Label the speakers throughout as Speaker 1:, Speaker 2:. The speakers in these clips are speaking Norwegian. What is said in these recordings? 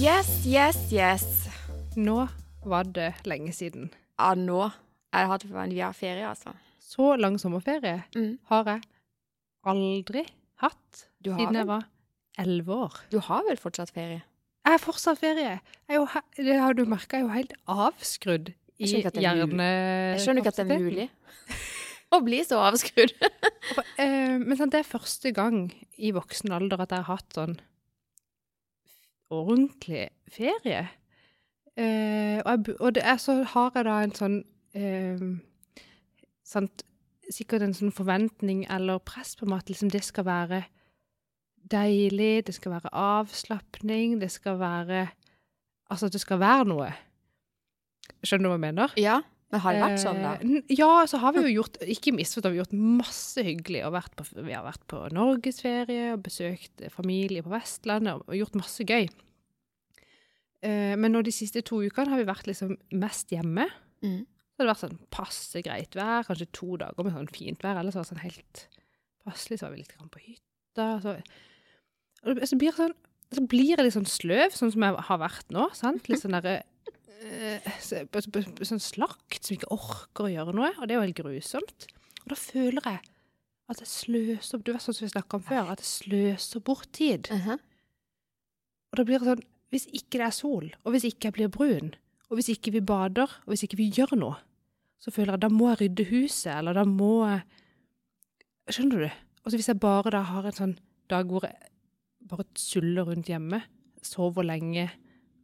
Speaker 1: Yes, yes, yes.
Speaker 2: Nå var det lenge siden.
Speaker 1: Ja, nå. Jeg hadde forventet vi har ferie, altså.
Speaker 2: Så lang sommerferie
Speaker 1: Mm.
Speaker 2: har jeg aldri hatt
Speaker 1: Du har
Speaker 2: siden
Speaker 1: vel-
Speaker 2: jeg var elleve år.
Speaker 1: Du har vel fortsatt ferie?
Speaker 2: Jeg har fortsatt ferie. Jeg er jo, he- det har du merka, jeg er jo helt avskrudd i
Speaker 1: Jeg skjønner ikke at det er mul-
Speaker 2: hjerne...
Speaker 1: Jeg skjønner ikke at det er mulig å bli så avskrudd.
Speaker 2: eh, men sant, det er første gang i voksen alder at jeg har hatt sånn ordentlig ferie. Eh, og jeg, bu- og det er, så har jeg da en sånn eh, sant, Sikkert en sånn forventning eller press på meg at liksom det skal være deilig, det skal være avslapning, det skal være Altså at det skal være noe. Skjønner du hva jeg mener?
Speaker 1: Ja, men har det vært sånn, da?
Speaker 2: Eh, n- Ja, så har vi jo gjort Ikke misforstå, vi har gjort masse hyggelig. Og vært på, vi har vært på norgesferie og besøkt eh, familie på Vestlandet og, og gjort masse gøy. Eh, men nå de siste to ukene har vi vært liksom mest hjemme.
Speaker 1: Mm.
Speaker 2: Så har det vært sånn passe greit vær, kanskje to dager med sånn fint vær. Ellers var det sånn helt passelig. Så var vi litt grann på hytta. Så, og det- så blir det sånn så blir jeg litt sånn sløv, sånn som jeg har vært nå. sant? Litt sånn derre eh, så- b- b- b- Sånn slakt som ikke orker å gjøre noe. Og det er jo helt grusomt. Og da føler jeg at jeg sløser Du vet sånn som vi snakka om før, at jeg sløser bort tid.
Speaker 1: Mhm.
Speaker 2: Og da blir det sånn Hvis ikke det er sol, og hvis ikke jeg blir brun, og hvis ikke vi bader, og hvis ikke vi gjør noe, så føler jeg da må jeg rydde huset, eller da må jeg Skjønner du? Og så hvis jeg bare da har en sånn dag hvor jeg bare suller rundt hjemme, sover lenge,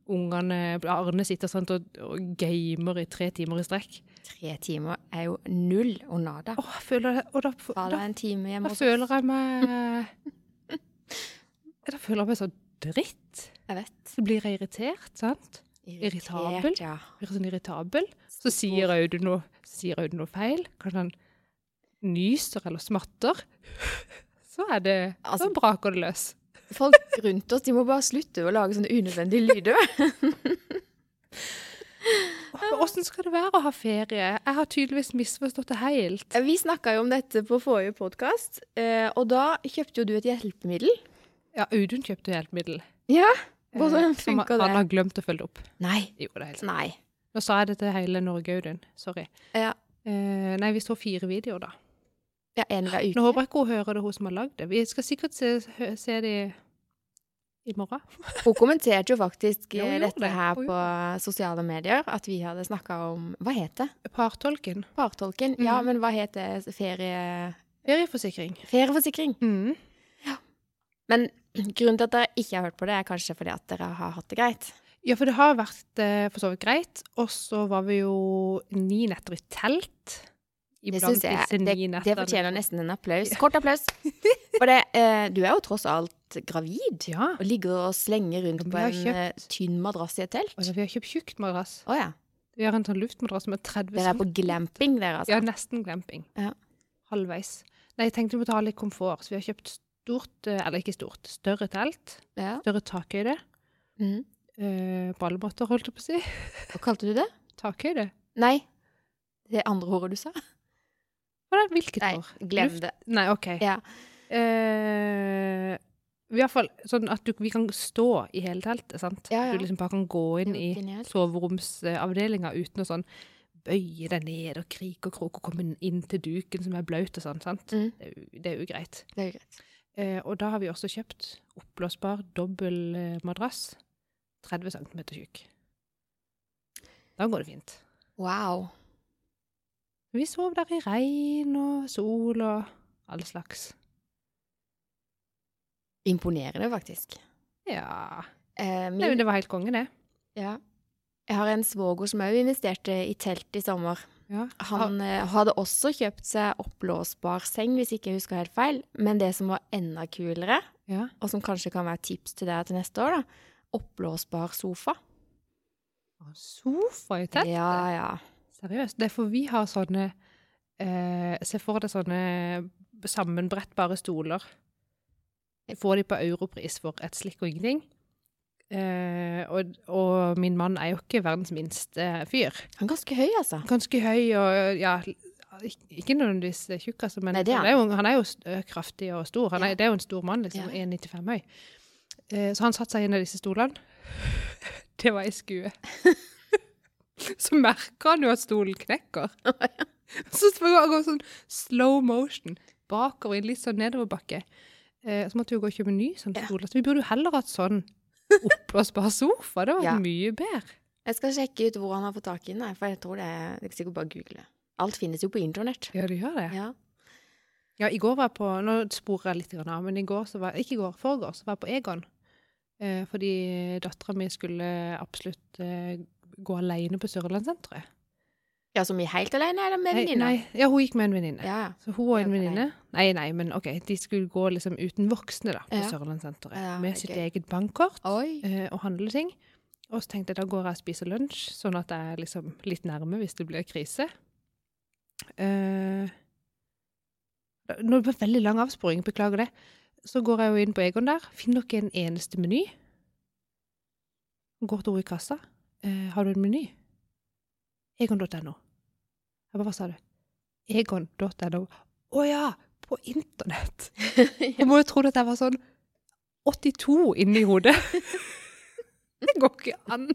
Speaker 2: ungene Arne sitter sånn og, og gamer i tre timer i strekk
Speaker 1: Tre timer er jo null og nada.
Speaker 2: Åh, jeg føler det Og da,
Speaker 1: Ta
Speaker 2: da
Speaker 1: deg en time hjemme
Speaker 2: da
Speaker 1: hos oss.
Speaker 2: føler jeg meg Da føler jeg meg så dritt.
Speaker 1: Jeg vet.
Speaker 2: Så blir jeg irritert, sant? Irritabel.
Speaker 1: ja.
Speaker 2: Blir sånn irritabel. Så sier Audun noe, så sier Audun noe feil. Kanskje han nyser eller smatter. Så er det Så
Speaker 1: Altså-
Speaker 2: braker det løs.
Speaker 1: Folk rundt oss de må bare slutte å lage sånne unødvendige lyder.
Speaker 2: Åssen skal det være å ha ferie? Jeg har tydeligvis misforstått det helt.
Speaker 1: Vi snakka jo om dette på forrige podkast, og da kjøpte jo du et hjelpemiddel.
Speaker 2: Ja, Audun kjøpte hjelpemiddel.
Speaker 1: Ja,
Speaker 2: Eh,
Speaker 1: Hvordan
Speaker 2: som han-
Speaker 1: funka
Speaker 2: Han
Speaker 1: det?
Speaker 2: har glemt å følge det opp.
Speaker 1: Nei.
Speaker 2: Jo, det er helt sant.
Speaker 1: Nei.
Speaker 2: Nå sa jeg det til hele Norge, Audun. Sorry.
Speaker 1: Ja,
Speaker 2: Eh, nei, vi så fire videoer, da.
Speaker 1: ja en hver uke.
Speaker 2: Nå håper jeg ikke hun hører det, hun som har lagd det. Vi skal sikkert se, hø- se det i morgen.
Speaker 1: Hun kommenterte jo faktisk
Speaker 2: Ja, hun
Speaker 1: eh,
Speaker 2: gjorde
Speaker 1: dette
Speaker 2: det.
Speaker 1: her
Speaker 2: Hun
Speaker 1: på sosiale medier, at vi hadde snakka om Hva het det?
Speaker 2: Partolken.
Speaker 1: Partolken? Ja,
Speaker 2: Mhm.
Speaker 1: men hva het det? Ferie...
Speaker 2: Ferieforsikring.
Speaker 1: Ferieforsikring.
Speaker 2: Mm.
Speaker 1: Men grunnen til at dere ikke har hørt på det, er kanskje fordi at dere har hatt det greit.
Speaker 2: Ja, for det har vært eh, for så vidt greit. Og så var vi jo ni netter i telt.
Speaker 1: Det
Speaker 2: Iblant
Speaker 1: synes jeg.
Speaker 2: disse
Speaker 1: Det,
Speaker 2: ni
Speaker 1: det
Speaker 2: nettene.
Speaker 1: fortjener nesten en applaus. Kort applaus. For det, eh, du er jo tross alt gravid.
Speaker 2: Ja.
Speaker 1: Og ligger og slenger rundt
Speaker 2: Ja, men
Speaker 1: på
Speaker 2: jeg har
Speaker 1: en eh, tynn madrass i et telt.
Speaker 2: Altså, vi har kjøpt tjukt madrass.
Speaker 1: Å ja.
Speaker 2: Vi har en sånn luftmadrass som er 30
Speaker 1: Dere er på glamping, dere,
Speaker 2: Ja,
Speaker 1: altså.
Speaker 2: nesten glamping.
Speaker 1: Ja.
Speaker 2: Halvveis. Nei, jeg tenkte vi måtte ha litt komfort, så vi har kjøpt stort, eh, eller ikke stort, større telt.
Speaker 1: Ja.
Speaker 2: Større takhøyde.
Speaker 1: Mhm.
Speaker 2: Eh, på alle måter, holdt jeg på å si.
Speaker 1: Hva kalte du det?
Speaker 2: Takhøyde?
Speaker 1: Nei. Det andre ordet du sa?
Speaker 2: Hva er det? Hvilket
Speaker 1: Nei,
Speaker 2: år?
Speaker 1: glem det.
Speaker 2: Nei, OK.
Speaker 1: Ja.
Speaker 2: Eh, I hvert fall sånn at du, vi kan stå i hele teltet, sant?
Speaker 1: Ja, ja.
Speaker 2: Du liksom bare kan gå inn
Speaker 1: Det
Speaker 2: i
Speaker 1: er jo genialt.
Speaker 2: soveromsavdelinga uten å sånn bøye deg ned og krike og kroke og komme inn til duken som er blaut og sånn, sant?
Speaker 1: Mm.
Speaker 2: Det, er jo- det er jo greit.
Speaker 1: Det er jo greit.
Speaker 2: Eh, og da har vi også kjøpt oppblåsbar dobbel eh, madrass, 30 cm tjukk. Da går det fint.
Speaker 1: Wow.
Speaker 2: Vi sov der i regn og sol og all slags.
Speaker 1: Imponerende, faktisk.
Speaker 2: Ja
Speaker 1: Eh,
Speaker 2: Nei, men
Speaker 1: min,
Speaker 2: Det var helt konge, det.
Speaker 1: ja. Jeg har en svoger som òg investerte i telt i sommer.
Speaker 2: Ja.
Speaker 1: Han eh, hadde også kjøpt seg oppblåsbar seng, hvis ikke jeg husker helt feil. Men det som var enda kulere,
Speaker 2: ja.
Speaker 1: og som kanskje kan være et tips til deg til neste år, da, oppblåsbar sofa.
Speaker 2: Sofa i telt?
Speaker 1: Ja, ja.
Speaker 2: Seriøst. Det er for vi har sånne eh, Se for deg sånne sammenbrettbare stoler. Får de på europris for et slikk og ingenting. Eh, og, og min mann er jo ikke verdens minste eh, fyr.
Speaker 1: Han er ganske høy, altså.
Speaker 2: Ganske høy og ja, ik- ikke nødvendigvis tjukk, altså, men
Speaker 1: Nei, det er han.
Speaker 2: han. Er jo, han er jo st- ø, kraftig og stor. Han
Speaker 1: Ja.
Speaker 2: er, Det er jo en stor mann, liksom.
Speaker 1: Ja.
Speaker 2: 1,95 høy. Eh, Så han satte seg i en av disse stolene, Det var ei skue. Så merker han jo at stolen knekker. Så får han gå sånn slow motion bakover i en litt sånn nedoverbakke. Eh, så måtte vi jo gå og kjøpe ny sånn
Speaker 1: Ja.
Speaker 2: stol. Så vi burde jo heller hatt sånn oppblåsbar sofa. Det var
Speaker 1: Ja.
Speaker 2: mye bedre.
Speaker 1: Jeg skal sjekke ut hvor han har fått tak i den, jeg, for jeg tror det er Det er sikkert bare å google. Alt finnes jo på internett.
Speaker 2: Ja, det gjør det.
Speaker 1: Ja.
Speaker 2: Ja, i går var jeg på Nå sporer jeg litt grann av, men i går så var Ikke i går, forgår, så var jeg på Egon. Eh, fordi dattera mi skulle absolutt eh, gå aleine på Sørlandssenteret.
Speaker 1: ja, som i helt alene, eller med
Speaker 2: Nei,
Speaker 1: venninna?
Speaker 2: nei, ja, hun gikk med en venninne.
Speaker 1: Ja,
Speaker 2: Så hun og
Speaker 1: Ja,
Speaker 2: en
Speaker 1: for
Speaker 2: venninne Nei, nei, men OK. De skulle gå liksom uten voksne, da, på
Speaker 1: Ja.
Speaker 2: Sørlandssenteret.
Speaker 1: Ja,
Speaker 2: med
Speaker 1: gøy.
Speaker 2: sitt eget bankkort
Speaker 1: ja. Oi.
Speaker 2: eh, og handle ting. Og så tenkte jeg da går jeg og spiser lunsj, sånn at jeg er liksom litt nærme hvis det blir krise. Eh, nå ble det veldig lang avsporing, beklager det. Så går jeg jo inn på Egon der, finner ikke en eneste meny. Går til henne i kassa. Eh, har du en meny? Egon.no. Jeg bare, hva sa du? Egon.no. Å ja, på internett! Jeg må jo tro at jeg var sånn 82 inni hodet. Det går ikke an.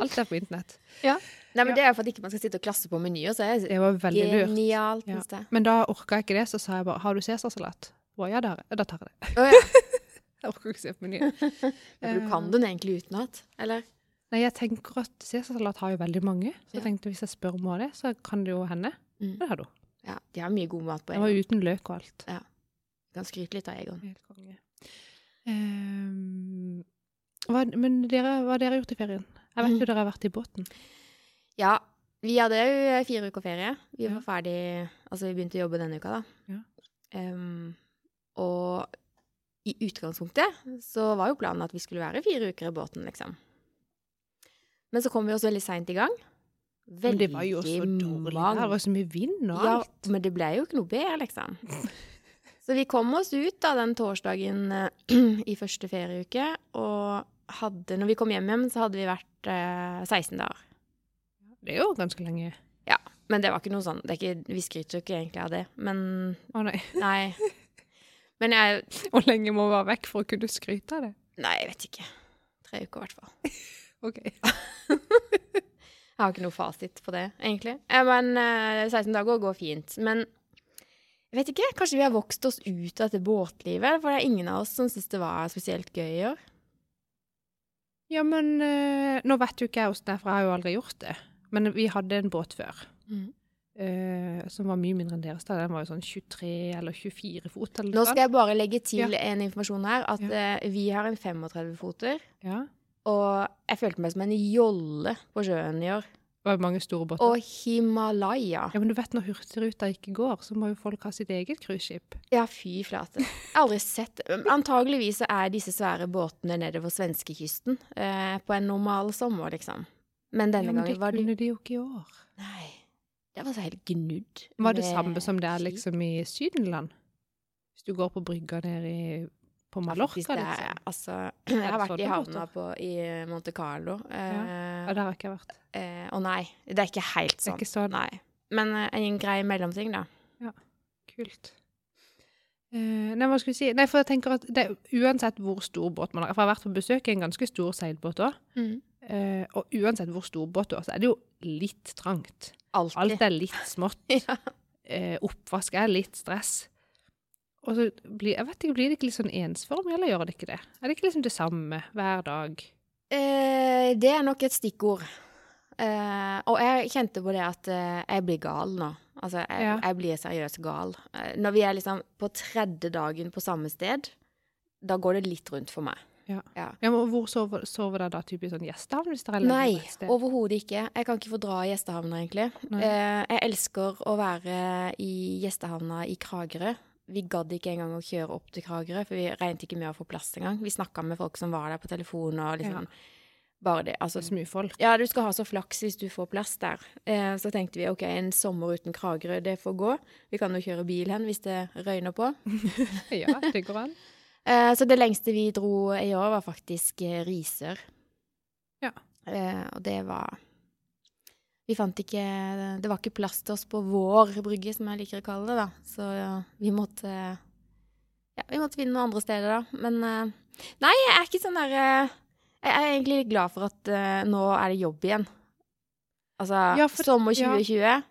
Speaker 2: Alt er på internett.
Speaker 1: Nei, men
Speaker 2: Ja.
Speaker 1: Det er jo for at ikke man skal sitte og klasse på menyer, så er det
Speaker 2: Det var veldig lurt.
Speaker 1: genialt.
Speaker 2: Ja.
Speaker 1: synes jeg.
Speaker 2: Men da orka jeg ikke det, så sa jeg bare 'Har du cæsarsalat?' Å ja, da, da tar jeg det.
Speaker 1: Å ja.
Speaker 2: Jeg orker ikke se på menyen. Eh,
Speaker 1: Men Du kan den egentlig utenat, eller?
Speaker 2: Nei, jeg tenker at cæsarsalat har jo veldig mange, så jeg
Speaker 1: Ja.
Speaker 2: tenkte hvis jeg spør om hun har det, så kan det jo hende.
Speaker 1: Mm.
Speaker 2: Og Det har hun.
Speaker 1: Ja, de har mye god mat på
Speaker 2: Den var
Speaker 1: Egon.
Speaker 2: uten løk og alt.
Speaker 1: Du kan skryte litt av Egon.
Speaker 2: Helt konge. Ehm, hva, men dere, hva har dere gjort i ferien? Jeg
Speaker 1: Mm.
Speaker 2: vet jo dere har vært i båten.
Speaker 1: Ja, vi hadde jo eh, fire uker ferie. Vi
Speaker 2: Ja.
Speaker 1: var ferdig Altså, vi begynte å jobbe denne uka, da.
Speaker 2: Ja.
Speaker 1: Em, og i utgangspunktet så var jo planen at vi skulle være fire uker i båten, liksom. Men så kom vi oss veldig seint i gang.
Speaker 2: Men det var jo så dårlig. vær, Det var så mye vind og
Speaker 1: Ja,
Speaker 2: alt.
Speaker 1: men det ble jo ikke noe bedre, liksom. Så vi kom oss ut da den torsdagen eh, i første ferieuke, og hadde, når vi kom hjem igjen, så hadde vi vært eh, 16 dager.
Speaker 2: Det er jo ganske lenge.
Speaker 1: Men det var ikke noe sånn, det er ikke, vi skryter jo ikke egentlig av det, men
Speaker 2: Å nei.
Speaker 1: nei. Men jeg,
Speaker 2: Hvor lenge må man være vekk for å kunne skryte av det?
Speaker 1: nei, jeg vet ikke. Tre uker i hvert fall.
Speaker 2: Ok.
Speaker 1: Jeg har ikke noe fasit på det, egentlig. Eh, Men eh, 16 dager går fint. Men jeg vet ikke, kanskje vi har vokst oss ut av dette båtlivet, for det er ingen av oss som synes det var spesielt gøy i år.
Speaker 2: Ja, men eh, nå vet jo ikke jeg hvordan det er, for jeg har jo aldri gjort det. Men vi hadde en båt før,
Speaker 1: Mhm.
Speaker 2: eh, som var mye mindre enn deres da. Den var jo sånn 23 eller 24 fot eller
Speaker 1: Nå
Speaker 2: noe
Speaker 1: skal jeg bare legge til en informasjon her, at
Speaker 2: Ja.
Speaker 1: eh, vi har en 35-foter,
Speaker 2: sånt. Ja.
Speaker 1: og jeg følte meg som en jolle på sjøen i år.
Speaker 2: Det var mange store båter.
Speaker 1: Og Himalaya.
Speaker 2: Ja, men du vet når Hurtigruta ikke går, så må jo folk ha sitt eget cruiseskip.
Speaker 1: Ja, fy flate. Jeg har aldri sett Antageligvis så er disse svære båtene nedover svenskekysten eh, på en normal sommer, liksom. Men
Speaker 2: Ja,
Speaker 1: denne
Speaker 2: men det
Speaker 1: gangen var det
Speaker 2: kunne de jo ikke i år.
Speaker 1: Nei. Det var så helt gnudd.
Speaker 2: Var det
Speaker 1: med
Speaker 2: samme som det er
Speaker 1: skip.
Speaker 2: liksom i Sydenland? Hvis du går på brygga nede i, på Mallorca,
Speaker 1: Faktisk, det er-
Speaker 2: liksom.
Speaker 1: Altså, jeg har
Speaker 2: det
Speaker 1: vært i
Speaker 2: sånne båter?
Speaker 1: havna på, i Monte Carlo.
Speaker 2: Ja,
Speaker 1: Eh,
Speaker 2: der har jeg ikke vært.
Speaker 1: eh, og nei, det er ikke helt
Speaker 2: Det er
Speaker 1: sånn.
Speaker 2: ikke sånn.
Speaker 1: Nei. Men eh, en grei mellomting, da.
Speaker 2: Kult. Eh, nei, hva skulle jeg si? Nei, for jeg tenker at det, uansett hvor stor båt man har For jeg har vært på besøk i en ganske stor seilbåt òg. og uansett hvor stor båt du har, så er det jo litt trangt.
Speaker 1: Alltid.
Speaker 2: Alt er litt smått.
Speaker 1: Ja.
Speaker 2: Eh, oppvask er litt stress. Og så blir, jeg vet ikke, blir det ikke litt sånn ensformig, eller gjør det ikke det? Er det ikke liksom det samme hver dag?
Speaker 1: Eh, det er nok et stikkord. Eh, og jeg kjente på det at eh, jeg blir gal nå. Altså, jeg,
Speaker 2: Ja.
Speaker 1: jeg blir seriøst gal. Eh, når vi er liksom på tredje dagen på samme sted, da går det litt rundt for meg.
Speaker 2: Ja, men Hvor sover, sover dere da? Typisk sånn gjestehavn? hvis dere er alene
Speaker 1: Nei,
Speaker 2: på et sted?
Speaker 1: overhodet ikke. Jeg kan ikke få dra i gjestehavna, egentlig.
Speaker 2: Nei.
Speaker 1: Eh, jeg elsker å være i gjestehavna i Kragerø. Vi gadd ikke engang å kjøre opp til Kragerø, for vi regnet ikke med å få plass engang. Vi snakka med folk som var der på telefon og liksom Bare det. Altså,
Speaker 2: Det er så mye folk.
Speaker 1: ja, du skal ha så flaks hvis du får plass der. Eh, så tenkte vi OK, en sommer uten Kragerø, det får gå. Vi kan jo kjøre bil hen hvis det røyner på.
Speaker 2: Ja, det går an.
Speaker 1: Eh, så det lengste vi dro i år, var faktisk eh, Risør.
Speaker 2: Ja.
Speaker 1: Eh, og det var Vi fant ikke Det var ikke plass til oss på vår brygge, som jeg liker å kalle det, da. Så ja, vi måtte Ja, vi måtte finne noen andre steder, da. Men eh, Nei, jeg er ikke sånn der eh, Jeg er egentlig litt glad for at eh, nå er det jobb igjen. Altså,
Speaker 2: Ja, for-
Speaker 1: sommer
Speaker 2: ja.
Speaker 1: 2020.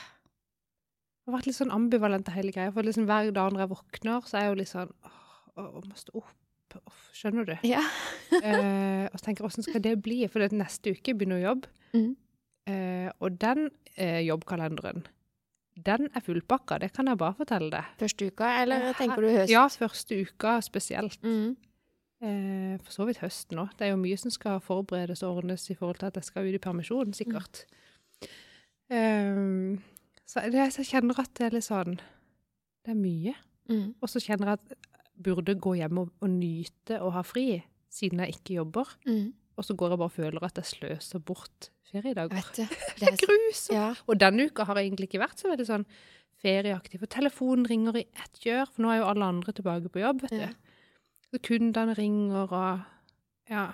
Speaker 2: Jeg har vært litt sånn ambivalent til hele greia. For liksom hver dag når jeg våkner, så er jeg jo litt sånn åh, åh, jeg må stå opp. Åh, skjønner du?
Speaker 1: Ja.
Speaker 2: Eh, og så tenker jeg, hvordan skal det bli? For det at neste uke begynner jo jobb.
Speaker 1: Mhm.
Speaker 2: Eh, og den eh, jobbkalenderen, den er fullpakka. Det kan jeg bare fortelle deg.
Speaker 1: Første uka, eller tenker du høst?
Speaker 2: Ja, første uka spesielt.
Speaker 1: Mm.
Speaker 2: Eh, for så vidt høsten òg. Det er jo mye som skal forberedes og ordnes i forhold til at jeg skal ut i permisjon,
Speaker 1: Mm.
Speaker 2: sikkert. Eh, så det, jeg kjenner at det er litt sånn Det er mye.
Speaker 1: Mm.
Speaker 2: Og så kjenner jeg at jeg burde gå hjem og, og nyte å ha fri, siden jeg ikke jobber.
Speaker 1: Mm.
Speaker 2: Og så går jeg bare og føler at jeg sløser bort
Speaker 1: Jeg
Speaker 2: feriedager.
Speaker 1: vet det. Det er så
Speaker 2: Grusomt!
Speaker 1: ja.
Speaker 2: Og denne uka har jeg egentlig ikke vært så veldig sånn ferieaktiv. For telefonen ringer i ett kjør, for nå er jo alle andre tilbake på jobb, vet
Speaker 1: Ja.
Speaker 2: du. Og kundene ringer og Ja.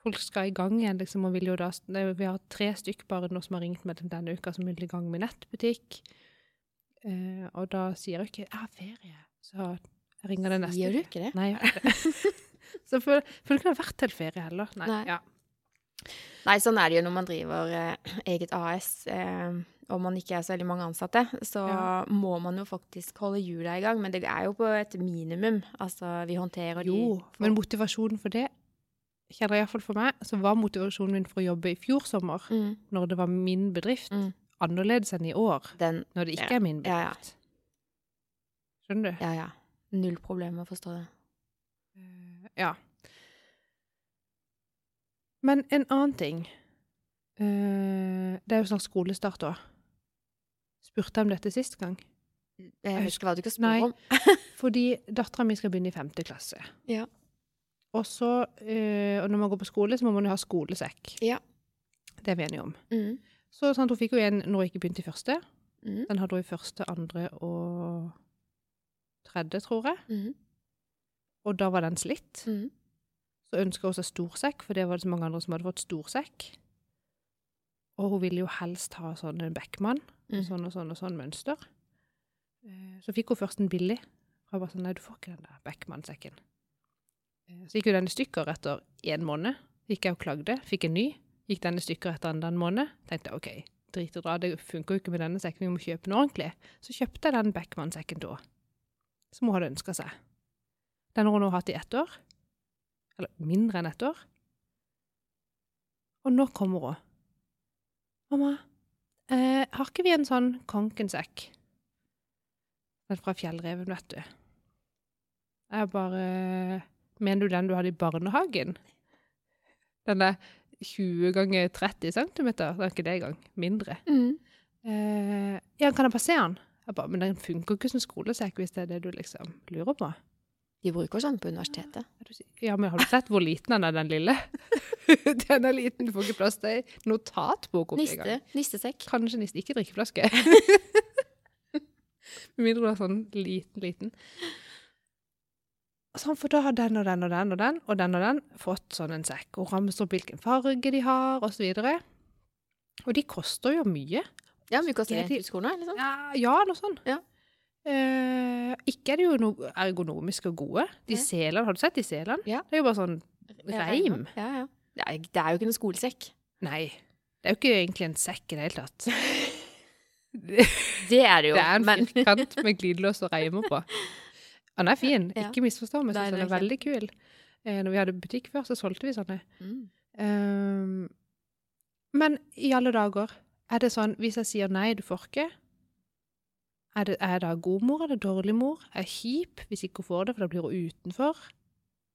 Speaker 2: Folk skal i gang igjen, liksom, og vil jo da det- Vi har tre stykk bare nå som har ringt meg denne uka, som vil i gang med nettbutikk. Eh, og da sier jeg jo ikke 'Jeg har ferie', så jeg ringer det neste
Speaker 1: Gjør du ikke det?
Speaker 2: Nei, jeg har ikke det. så jeg føler føler ikke det har vært til ferie heller. Nei.
Speaker 1: Nei.
Speaker 2: Ja.
Speaker 1: Nei, sånn er det jo når man driver eh, eget AS, eh, og man ikke er så veldig mange ansatte. Så
Speaker 2: Ja.
Speaker 1: må man jo faktisk holde hjula i gang, men det er jo på et minimum. Altså, vi håndterer de
Speaker 2: Jo,
Speaker 1: for-
Speaker 2: men motivasjonen for det kjenner jeg iallfall for meg, så var motivasjonen min for å jobbe i fjor sommer,
Speaker 1: mm,
Speaker 2: når det var min bedrift,
Speaker 1: Mm.
Speaker 2: annerledes enn i år,
Speaker 1: Den
Speaker 2: når det ikke er min
Speaker 1: Ja, ja.
Speaker 2: bedrift. Skjønner du?
Speaker 1: Ja, ja. Null problem med å forstå det.
Speaker 2: Ja. Men en annen ting eh, Det er jo snart skolestart òg. Spurte jeg om dette sist gang?
Speaker 1: Jeg husker hva du ikke
Speaker 2: Nei.
Speaker 1: spør om.
Speaker 2: Fordi dattera mi skal begynne i femte klasse.
Speaker 1: Ja.
Speaker 2: Og, så, eh, og når man går på skole, så må man jo ha skolesekk.
Speaker 1: Ja.
Speaker 2: Det er vi enige om.
Speaker 1: Mm.
Speaker 2: Så sant, hun fikk jo en når hun ikke begynte i første.
Speaker 1: Mm.
Speaker 2: Den hadde hun i første, andre og tredje, tror jeg.
Speaker 1: Mm.
Speaker 2: Og da var den slitt.
Speaker 1: Mm.
Speaker 2: Så ønska hun seg storsekk, for det var det så mange andre som hadde fått storsekk. Og hun ville jo helst ha sånn en Beckman,
Speaker 1: Mm.
Speaker 2: og sånn og sånn og sånn mønster. Eh, Så fikk hun først en billig. Og jeg bare sånn, nei, du får ikke den der Beckman-sekken. Eh, Så gikk jo den i stykker etter én måned. Gikk jeg og klagde, fikk en ny. Gikk den i stykker etter enda en måned. Tenkte jeg, ok, drit og dra, det funker jo ikke med denne sekken, vi må kjøpe noe ordentlig. Så kjøpte jeg den Beckman-sekken da, som hun hadde ønska seg. Den har hun nå hatt i ett år. Eller mindre enn ett år. Og nå kommer hun. Mamma, eh, har ikke vi en sånn konkensekk? Den fra Fjellreven, vet du. Jeg bare Mener du den du hadde i barnehagen? Den der 20 ganger 30 cm? Det er ikke det engang. Mindre.
Speaker 1: Mm.
Speaker 2: Eh, ja, kan jeg bare se den? Jeg bare, Men den funker ikke som skolesekk, hvis det er det du liksom lurer på.
Speaker 1: De bruker sånn på universitetet.
Speaker 2: Er du sikker? Ja, men har du sett hvor liten den er, den lille? den er liten, du får ikke plass til ei notatbok oppi engang.
Speaker 1: Niste, nistesekk.
Speaker 2: Kanskje niste, ikke drikkeflaske. Med mindre du er sånn liten, liten. Sånn, for da har den og den og den og den og den og den fått sånn en sekk, og ramser opp hvilken farge de har, og så videre. Og de koster jo mye.
Speaker 1: Ja, men vi koster
Speaker 2: Er de-
Speaker 1: rent ut skoene, eller sånn.
Speaker 2: Ja, ja noe sånt.
Speaker 1: Ja.
Speaker 2: Eh, ikke er de jo noe ergonomisk og gode. De
Speaker 1: Nei.
Speaker 2: selene, har du sett de selene?
Speaker 1: Ja.
Speaker 2: Det er jo bare sånn reim.
Speaker 1: Ja, ja. Det er, det er jo ikke noen skolesekk.
Speaker 2: Nei, det er jo ikke egentlig en sekk i det hele tatt.
Speaker 1: Det er det jo.
Speaker 2: Det er en
Speaker 1: men
Speaker 2: firkant med glidelås og reimer på. Han er fin,
Speaker 1: Ja.
Speaker 2: ikke misforstå meg,
Speaker 1: Nei,
Speaker 2: jeg synes
Speaker 1: den
Speaker 2: han er
Speaker 1: er
Speaker 2: veldig kul. Eh, Når vi hadde butikk før, så solgte vi sånne.
Speaker 1: mm.
Speaker 2: Um, men i alle dager, er det sånn, hvis jeg sier nei, du får ikke, er det, er jeg da god mor, er det dårlig mor, er jeg kjip hvis ikke hun får det, for da blir hun utenfor?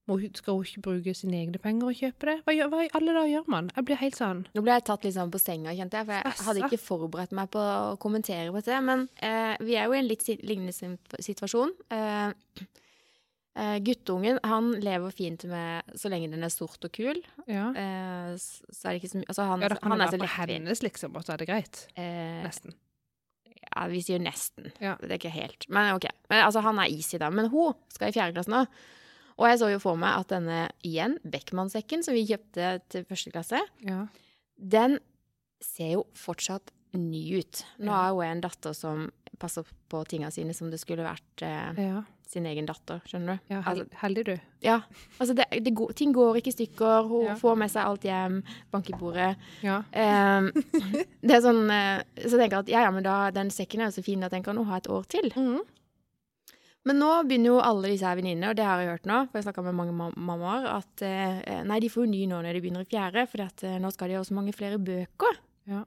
Speaker 2: Må, hun- skal hun ikke bruke sine egne penger og kjøpe det? Hva, gjør- hva i alle dager gjør man? Jeg blir helt sånn,
Speaker 1: Nå ble jeg tatt litt sånn på senga, kjente jeg, for jeg
Speaker 2: Stressa.
Speaker 1: hadde ikke forberedt meg på å kommentere på det. Men eh, vi er jo i en litt si- lignende sin- situasjon. Eh, eh, guttungen han lever fint med så lenge den er sort og kul.
Speaker 2: ja.
Speaker 1: Eh, s- så er det ikke så mye Altså, han,
Speaker 2: Ja, da kan
Speaker 1: han
Speaker 2: det
Speaker 1: er så
Speaker 2: være på
Speaker 1: lettvint.
Speaker 2: hennes liksom, og så er det greit,
Speaker 1: Eh,
Speaker 2: nesten.
Speaker 1: ja, vi sier nesten.
Speaker 2: Ja.
Speaker 1: Det er ikke helt. Men ok. Men, altså, han er easy, da. Men hun skal i fjerde klasse nå. Og jeg så jo for meg at denne, igjen, Beckmann-sekken som vi kjøpte til første klasse,
Speaker 2: Ja.
Speaker 1: den ser jo fortsatt ny ut. Nå
Speaker 2: Ja.
Speaker 1: har hun en datter som passe opp på tinga sine som det skulle vært eh,
Speaker 2: Ja,
Speaker 1: sin egen datter, skjønner du?
Speaker 2: ja hel,
Speaker 1: Altså-
Speaker 2: heldig du.
Speaker 1: Ja. Altså, det, det går, ting går ikke i stykker, hun
Speaker 2: Ja.
Speaker 1: får med seg alt hjem, bank i bordet.
Speaker 2: Ja.
Speaker 1: Eh, det er sånn eh, Så tenker jeg at ja, ja, men da, den sekken er jo så fin at den kan hun ha et år til. Men nå begynner jo alle disse her venninnene, og det har jeg hørt nå, for jeg snakka med mange mam- mammaer, at eh, nei, de får jo ny nå når de begynner i fjerde, for eh, nå skal de ha så mange flere bøker.
Speaker 2: Ja.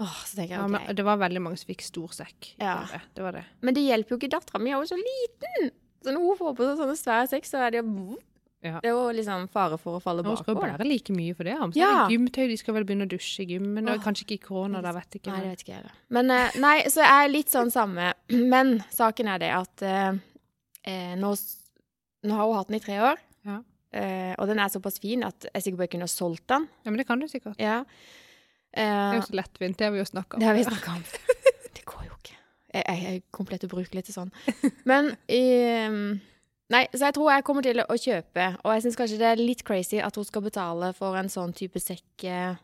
Speaker 1: Åh, så tenker
Speaker 2: Ja,
Speaker 1: jeg, ok.
Speaker 2: men det var veldig mange som fikk stor sekk. i
Speaker 1: Ja.
Speaker 2: året. Det var det.
Speaker 1: Men det hjelper jo ikke dattera mi, hun er jo så liten! Så når hun får på seg sånne svære sekk, så er det jo
Speaker 2: Ja.
Speaker 1: Det er jo liksom fare for å falle
Speaker 2: Nå skal jo
Speaker 1: bakover. da.
Speaker 2: bære like mye for det. Amst.
Speaker 1: Ja.
Speaker 2: Gymtøy, de skal vel begynne å dusje i gymmen. og
Speaker 1: Åh.
Speaker 2: Kanskje ikke i korona, da vet jeg ikke.
Speaker 1: Nei, det
Speaker 2: men-
Speaker 1: vet ikke jeg. da. Men eh, nei, så jeg er litt sånn samme. Men saken er det at eh, eh, nå, s- nå har hun hatt den i tre år,
Speaker 2: Ja.
Speaker 1: eh, og den er såpass fin at jeg er sikker på jeg kunne ha solgt den.
Speaker 2: Ja, men det kan du sikkert.
Speaker 1: Ja.
Speaker 2: Det
Speaker 1: Eh,
Speaker 2: er jo så lettvint, det har vi jo snakka om.
Speaker 1: det har vi snakka om. Det går jo ikke. Jeg, jeg er komplett ubrukelig til sånn. Men ehm, Nei, så jeg tror jeg kommer til å kjøpe. Og jeg syns kanskje det er litt crazy at hun skal betale for en sånn type sekk eh,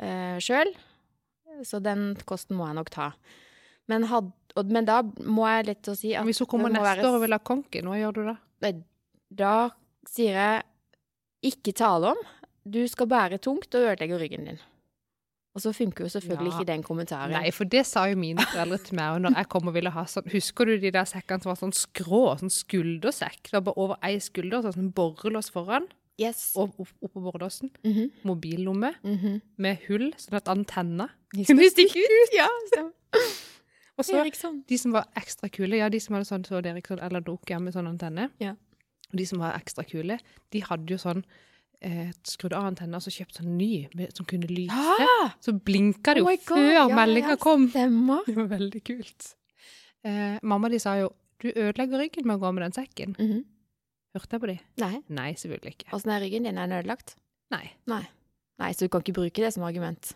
Speaker 1: eh, sjøl. Så den kosten må jeg nok ta. Men, had, og, men da må jeg litt til å si at
Speaker 2: Hvis hun kommer
Speaker 1: det må
Speaker 2: neste
Speaker 1: være-
Speaker 2: år og vil ha konken, hva gjør du da?
Speaker 1: Nei, Da sier jeg ikke tale om. Du skal bære tungt og ødelegge ryggen din. Og så funker jo selvfølgelig
Speaker 2: Ja.
Speaker 1: ikke den kommentaren.
Speaker 2: Nei, for det sa jo mine foreldre til meg og når jeg kom og ville ha sånn. Husker du de der sekkene som var sånn skrå, sånn skuldersekk? Det var bare over ei skulder, sånn som borrelås foran,
Speaker 1: Yes.
Speaker 2: og opp- oppå borrelåsen.
Speaker 1: Mhm,
Speaker 2: Mobillomme
Speaker 1: mhm.
Speaker 2: med hull, sånn at antenna
Speaker 1: De
Speaker 2: kunne
Speaker 1: stikke
Speaker 2: stikke
Speaker 1: ut. Ja, stemmer.
Speaker 2: Og så
Speaker 1: Eriksson.
Speaker 2: de som var ekstra kule, ja, de som hadde sånn Tord Eriksson eller Nokia med sånn antenne,
Speaker 1: Ja.
Speaker 2: og de som var ekstra kule, de hadde jo sånn eh, skrudd av antenne og så kjøpt sånn ny med, som kunne lyse.
Speaker 1: Ja!
Speaker 2: Så blinka det jo
Speaker 1: Oh my God,
Speaker 2: før
Speaker 1: ja, ja,
Speaker 2: meldinga
Speaker 1: ja.
Speaker 2: kom.
Speaker 1: Stemmer.
Speaker 2: Det var veldig kult. Eh, mamma de sa jo du ødelegger ryggen med å gå med den sekken.
Speaker 1: Mhm.
Speaker 2: Hørte jeg på de?
Speaker 1: Nei.
Speaker 2: Nei, selvfølgelig ikke.
Speaker 1: Åssen er ryggen din? Er den ødelagt?
Speaker 2: Nei.
Speaker 1: Nei, så du kan ikke bruke det som argument.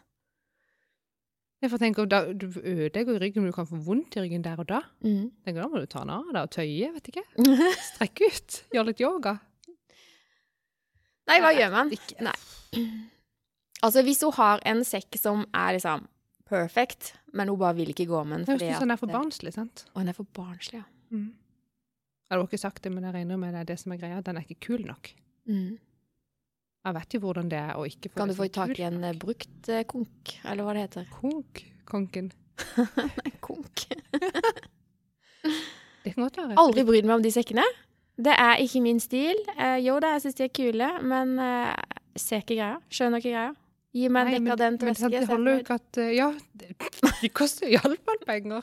Speaker 2: Jeg får tenke, da, Du ødelegger ryggen, men du kan få vondt i ryggen der og da.
Speaker 1: Mhm.
Speaker 2: Tenker, da må du ta den av deg og tøye, vet ikke. Strekke ut. Gjøre litt yoga.
Speaker 1: Nei, hva gjør man?
Speaker 2: Ikke.
Speaker 1: Nei. Altså, hvis hun har en sekk som er liksom perfect, men hun bare vil ikke gå med den
Speaker 2: Det høres ut som den er for
Speaker 1: barnslig.
Speaker 2: barnslig, sant?
Speaker 1: Og den er for barnslig, ja.
Speaker 2: Jeg har ikke sagt det, men jeg regner med det er det som er greia. Den er ikke kul nok.
Speaker 1: Mhm.
Speaker 2: Jeg vet jo hvordan det er å ikke få
Speaker 1: Kan du
Speaker 2: det
Speaker 1: få
Speaker 2: som
Speaker 1: tak i
Speaker 2: kult
Speaker 1: en eh,
Speaker 2: nok.
Speaker 1: brukt eh, konk, eller hva det heter?
Speaker 2: Konk, konken.
Speaker 1: Konk.
Speaker 2: Det kan godt være.
Speaker 1: Aldri brydd meg om de sekkene. Det er ikke min stil. Eh, jo da, jeg syns de er kule, men eh, ser ikke greia. Skjønner ikke greia. Gi meg
Speaker 2: Nei,
Speaker 1: en
Speaker 2: men-
Speaker 1: dekadent
Speaker 2: men
Speaker 1: veske.
Speaker 2: sant, Det
Speaker 1: så jeg
Speaker 2: holder jo
Speaker 1: får-
Speaker 2: ikke at eh, Ja, det, de koster jo iallfall penger.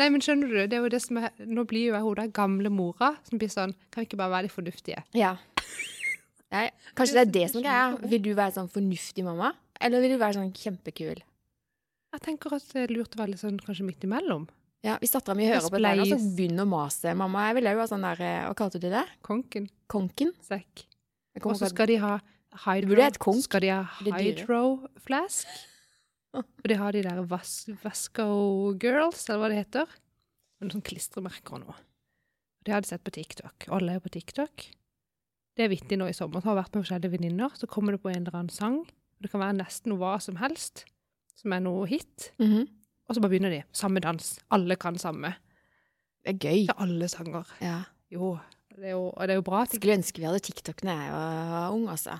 Speaker 2: Nei, men skjønner du, det er jo det som er Nå blir jo jeg hun der gamle mora som blir sånn Kan vi ikke bare være litt fornuftige?
Speaker 1: Ja. Nei, kanskje det er det som er greia. Vil du være sånn fornuftig mamma, eller vil du være sånn kjempekul?
Speaker 2: Jeg tenker at det er lurt å være litt sånn kanskje midt imellom.
Speaker 1: Ja, Hvis dattera mi hører på det,
Speaker 2: Spleis.
Speaker 1: så begynn å mase. Mamma, jeg ville jo ha sånn der eh, Hva kalte du det?
Speaker 2: Konken,
Speaker 1: Konken?
Speaker 2: sekk.
Speaker 1: Jeg
Speaker 2: Og
Speaker 1: kommer
Speaker 2: så
Speaker 1: fra-
Speaker 2: skal de ha hydro,
Speaker 1: burde hett konk.
Speaker 2: Skal de ha
Speaker 1: Det er dyre.
Speaker 2: hydroflask. Og de har de der vas Vasco Girls, eller hva det heter. Og noen sånne klistremerker og noe. Det har de sett på TikTok. Alle er jo på TikTok. Det er vittig nå i sommer. Så har jeg vært med forskjellige venninner, så kommer det på en eller annen sang. Og det kan være nesten hva som helst som er noe hit.
Speaker 1: Mhm.
Speaker 2: Og så bare begynner de. Samme dans. Alle kan samme.
Speaker 1: Det er gøy.
Speaker 2: Det er alle sanger.
Speaker 1: Ja.
Speaker 2: Jo. Det er jo, og det er jo bra. at-
Speaker 1: Skulle ønske vi hadde TikTok da jeg var ung, altså.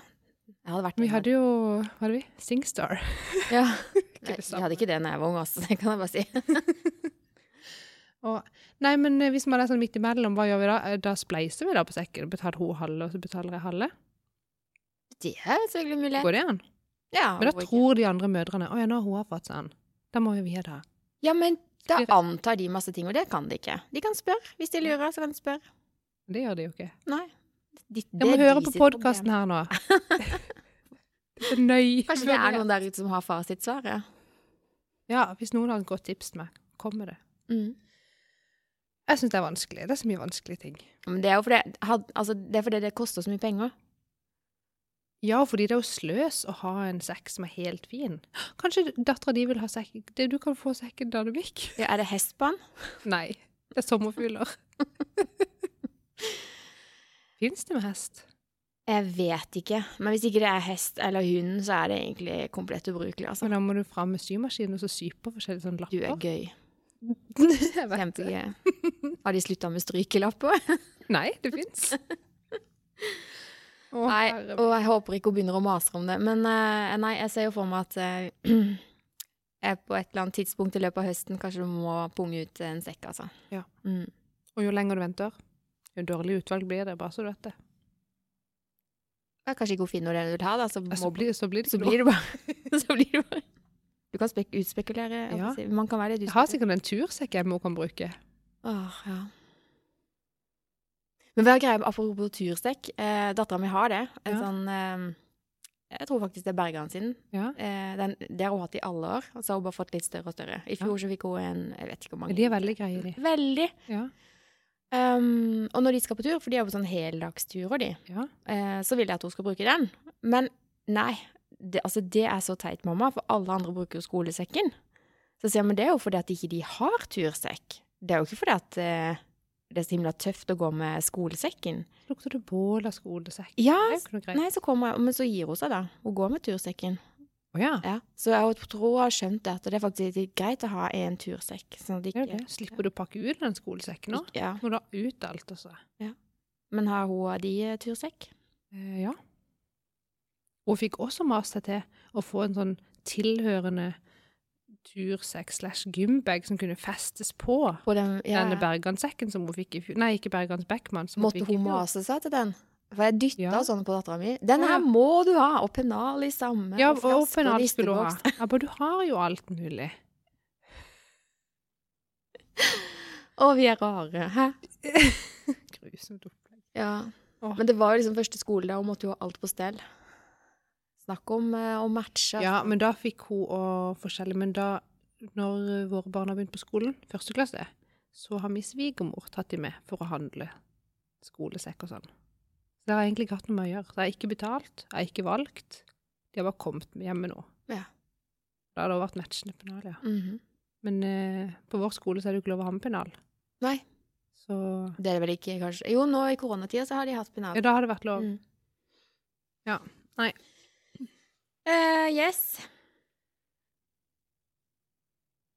Speaker 1: Jeg hadde vært
Speaker 2: Vi hadde jo Hva hadde vi? Singstar.
Speaker 1: ja.
Speaker 2: det
Speaker 1: Nei, Vi
Speaker 2: samme.
Speaker 1: hadde ikke det da jeg var ung, altså. Det kan jeg bare si.
Speaker 2: Og, nei, men eh, hvis man er sånn midt imellom, hva gjør vi da? Eh, Da spleiser vi da på sekken. Betaler hun halve, og så betaler jeg halve.
Speaker 1: Det er selvfølgelig mulig.
Speaker 2: Går det an?
Speaker 1: Ja,
Speaker 2: Men da
Speaker 1: hvorfor ikke?
Speaker 2: tror de andre mødrene å ja, nå har hun fått sånn. Da må jo vi da.
Speaker 1: ja, men da
Speaker 2: Blir det-
Speaker 1: antar de masse ting, og det kan de ikke. De kan spørre. Hvis de lurer, så kan de spørre.
Speaker 2: Det gjør de jo ikke.
Speaker 1: Nei. De,
Speaker 2: Jeg må
Speaker 1: det er
Speaker 2: høre
Speaker 1: de
Speaker 2: på
Speaker 1: sitt problem.
Speaker 2: podkasten her nå. Det er Nøy.
Speaker 1: Kanskje det er noen der ute som har fasitsvaret.
Speaker 2: Ja, hvis noen har et godt tips til meg, kom med det.
Speaker 1: Mm.
Speaker 2: Jeg syns det er vanskelig. Det er så mye vanskelige ting.
Speaker 1: Men det er jo fordi, had, altså, det, er fordi det koster så mye penger.
Speaker 2: Ja, fordi det er jo sløs å ha en sekk som er helt fin. Kanskje dattera di vil ha sekk Det- Du kan få sekken da du vil.
Speaker 1: Ja, er det hest på den?
Speaker 2: Nei, det er sommerfugler. Fins det med hest?
Speaker 1: Jeg vet ikke. Men hvis ikke det er hest eller hund, så er det egentlig komplett ubrukelig, altså.
Speaker 2: Men da må du fram med symaskinen og så sy på forskjellige sånne
Speaker 1: Du er
Speaker 2: lapper.
Speaker 1: gøy.
Speaker 2: Jeg vet det.
Speaker 1: Kjempegøy. Har de slutta med strykelapper?
Speaker 2: Nei, det fins.
Speaker 1: Nei, og jeg håper ikke hun begynner å mase om det. Men eh, nei, jeg ser jo for meg at eh, jeg på et eller annet tidspunkt i løpet av høsten kanskje du må punge ut en sekk, altså.
Speaker 2: Ja.
Speaker 1: Mm.
Speaker 2: Og jo lenger du venter, jo dårlig utvalg blir det, bare så du vet det.
Speaker 1: Det er kanskje ikke hun finner det du vil ha, da, så, må,
Speaker 2: Så blir, så blir det
Speaker 1: så
Speaker 2: ikke noe.
Speaker 1: blir det bare Så blir det bare Du kan spek utspekulere. jeg
Speaker 2: Ja.
Speaker 1: håper å si. Man kan være litt
Speaker 2: Jeg har
Speaker 1: utspekulert.
Speaker 2: sikkert en tursekk jeg mor kan bruke.
Speaker 1: Åh, ja. Men hva er greia med apropos turstekk? Eh, Dattera mi har det. En
Speaker 2: Ja.
Speaker 1: sånn eh, Jeg tror faktisk det er Bergan sin.
Speaker 2: Ja.
Speaker 1: Eh, den, det har hun hatt i alle år, og så har hun bare fått litt større og større. I fjor så fikk hun en jeg vet ikke hvor mange.
Speaker 2: De er veldig greie, de.
Speaker 1: Veldig.
Speaker 2: Ja.
Speaker 1: Um, og når de skal på tur, for de er jo på sånn heldagsturer, de,
Speaker 2: Ja.
Speaker 1: eh, så vil jeg at hun skal bruke den. Men nei, det, altså det er så teit, mamma, for alle andre bruker jo skolesekken. Så sier jeg, men det er jo fordi at ikke de har tursekk. Det er jo ikke fordi at eh, det er så himla tøft å gå med skolesekken.
Speaker 2: Lukter det bål av skolesekk?
Speaker 1: Ja,
Speaker 2: Det er jo ikke noe greit.
Speaker 1: nei, så kommer jeg, men så gir hun seg da. Hun går med tursekken.
Speaker 2: Å ja.
Speaker 1: Ja, så jeg tror hun har skjønt det, at det er faktisk litt greit å ha en tursekk. Sånn at
Speaker 2: Det er
Speaker 1: ikke,
Speaker 2: jo det. Slipper du å pakke ut den skolesekken nå?
Speaker 1: ja.
Speaker 2: Når du har ut alt, altså.
Speaker 1: Men har hun de eh, tursekk?
Speaker 2: Eh, ja. Hun fikk også mast seg til å få en sånn tilhørende tursekk slash gymbag som kunne festes på
Speaker 1: På den, ja.
Speaker 2: denne bergansekken som hun fikk i fjor. Nei, ikke Bergans Beckman. Som
Speaker 1: Måtte
Speaker 2: fikk i
Speaker 1: hun
Speaker 2: fjor.
Speaker 1: mase seg til den? For jeg dytta
Speaker 2: Ja.
Speaker 1: sånn på dattera mi. Den
Speaker 2: Ja.
Speaker 1: her må du ha! Og pennal i samme.
Speaker 2: Ja,
Speaker 1: og
Speaker 2: og
Speaker 1: flaske
Speaker 2: open
Speaker 1: og
Speaker 2: alt skulle hun
Speaker 1: nisteboks.
Speaker 2: ha. Ja, men du har jo alt mulig.
Speaker 1: Å, vi er rare. Hæ?
Speaker 2: Grusomt opplegg.
Speaker 1: Ja.
Speaker 2: Åh.
Speaker 1: Men det var jo liksom første skoledag, hun måtte jo ha alt på stell. Snakk om eh, å matche.
Speaker 2: Ja, men da fikk hun og forskjellig. Men da, når våre barn har begynt på skolen, første klasse, så har min svigermor tatt de med for å handle skolesekk og sånn. Så det har jeg egentlig ikke hatt noe med å gjøre. Så jeg har ikke betalt, jeg har ikke valgt. De har bare kommet med hjemme nå.
Speaker 1: Ja.
Speaker 2: Da har det også vært matchende pennal, ja.
Speaker 1: Mhm.
Speaker 2: Men eh, på vår skole så er det jo ikke lov å ha med pennal.
Speaker 1: Nei,
Speaker 2: Så
Speaker 1: det er det vel ikke, kanskje. Jo, nå i koronatida så har de hatt pennal.
Speaker 2: ja, da har det vært lov.
Speaker 1: Mm.
Speaker 2: Ja, nei.
Speaker 1: Eh, yes.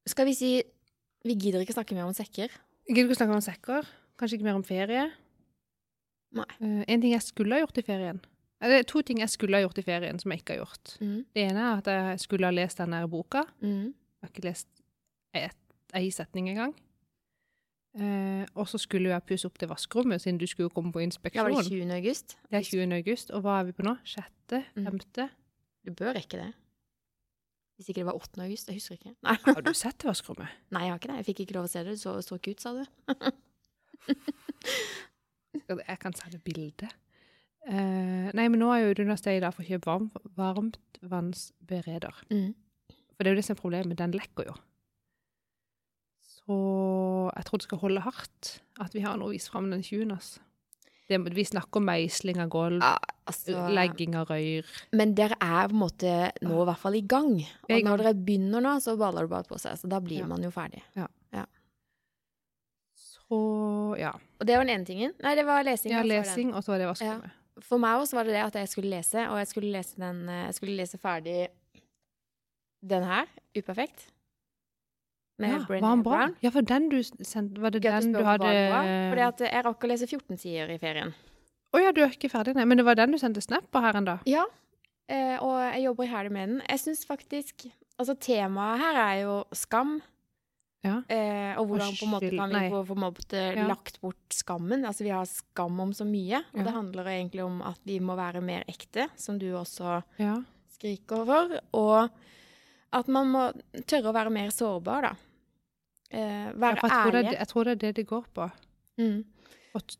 Speaker 1: Skal vi si Vi gidder ikke snakke mer om sekker.
Speaker 2: Gidder du ikke å snakke om sekker? Kanskje ikke mer om ferie?
Speaker 1: Nei.
Speaker 2: Eh, en ting jeg skulle ha gjort i ferien eh, Det er to ting jeg skulle ha gjort i ferien som jeg ikke har gjort.
Speaker 1: Mm.
Speaker 2: Det ene er at jeg skulle ha lest den der boka.
Speaker 1: Mm.
Speaker 2: Jeg har ikke lest et, ei setning engang. Eh, og så skulle jo jeg pusse opp det vaskerommet, siden du skulle jo komme på
Speaker 1: Ja, var
Speaker 2: inspeksjon.
Speaker 1: det 20. august?
Speaker 2: det er 20. august, og hva er vi på nå? 6.?
Speaker 1: Mm.
Speaker 2: 5.?
Speaker 1: Du bør rekke det. Hvis ikke det var 8. august, jeg husker ikke. Nei,
Speaker 2: Har du sett vaskerommet?
Speaker 1: Nei jeg har ikke det. Jeg fikk ikke lov å se det. Det så, så ikke ut, sa du.
Speaker 2: Skal- Jeg kan sende bilde. Eh, nei, men nå er jo du noe sted i dag for å kjøpe varm, varmtvannsbereder.
Speaker 1: Mm.
Speaker 2: For det er jo det som er problemet, den lekker jo. Så jeg tror det skal holde hardt at vi har noe å vise fram den 20. ass. Det, vi snakker om meisling av gulv, eh,
Speaker 1: Ja, Altså,
Speaker 2: legging av røyr.
Speaker 1: men dere er på en måte nå i hvert fall i gang.
Speaker 2: Vi er
Speaker 1: Og
Speaker 2: i
Speaker 1: når dere begynner nå, så baller det bare på seg. Så da blir
Speaker 2: Ja.
Speaker 1: man jo ferdig.
Speaker 2: Så ja.
Speaker 1: Og det var den ene tingen. Nei, det var lesing.
Speaker 2: ja
Speaker 1: altså, var den.
Speaker 2: lesing, og så var det vaskerommet.
Speaker 1: For meg også var det det at jeg skulle lese, og jeg skulle lese, den, eh, jeg skulle lese ferdig den her, Uperfekt. Med
Speaker 2: Ja,
Speaker 1: Brené
Speaker 2: var den bra?
Speaker 1: Brown.
Speaker 2: Ja, for den du sendte Var det
Speaker 1: Gøy at
Speaker 2: den du
Speaker 1: spør om
Speaker 2: hadde
Speaker 1: den var bra, Fordi at jeg rakk å lese 14 sider i ferien.
Speaker 2: Å ja, du er ikke ferdig, nei. Men det var den du sendte snap på her ennå?
Speaker 1: Ja, eh, og jeg jobber iherdig med den. Jeg syns faktisk Altså, temaet her er jo skam.
Speaker 2: Ja.
Speaker 1: Eh, og hvordan
Speaker 2: Og
Speaker 1: på en måte
Speaker 2: skyld-
Speaker 1: kan vi
Speaker 2: nei.
Speaker 1: få på en måte
Speaker 2: Ja.
Speaker 1: lagt bort skammen. Altså, vi har skam om så mye. Og
Speaker 2: Ja.
Speaker 1: det handler egentlig om at vi må være mer ekte, som du også
Speaker 2: Ja.
Speaker 1: skriker for. Og at man må tørre å være mer sårbar, da. Eh,
Speaker 2: Ja,
Speaker 1: være
Speaker 2: for jeg, tror det, er
Speaker 1: ærlige.
Speaker 2: det- jeg tror det er det det går på.
Speaker 1: Mm.
Speaker 2: Og t-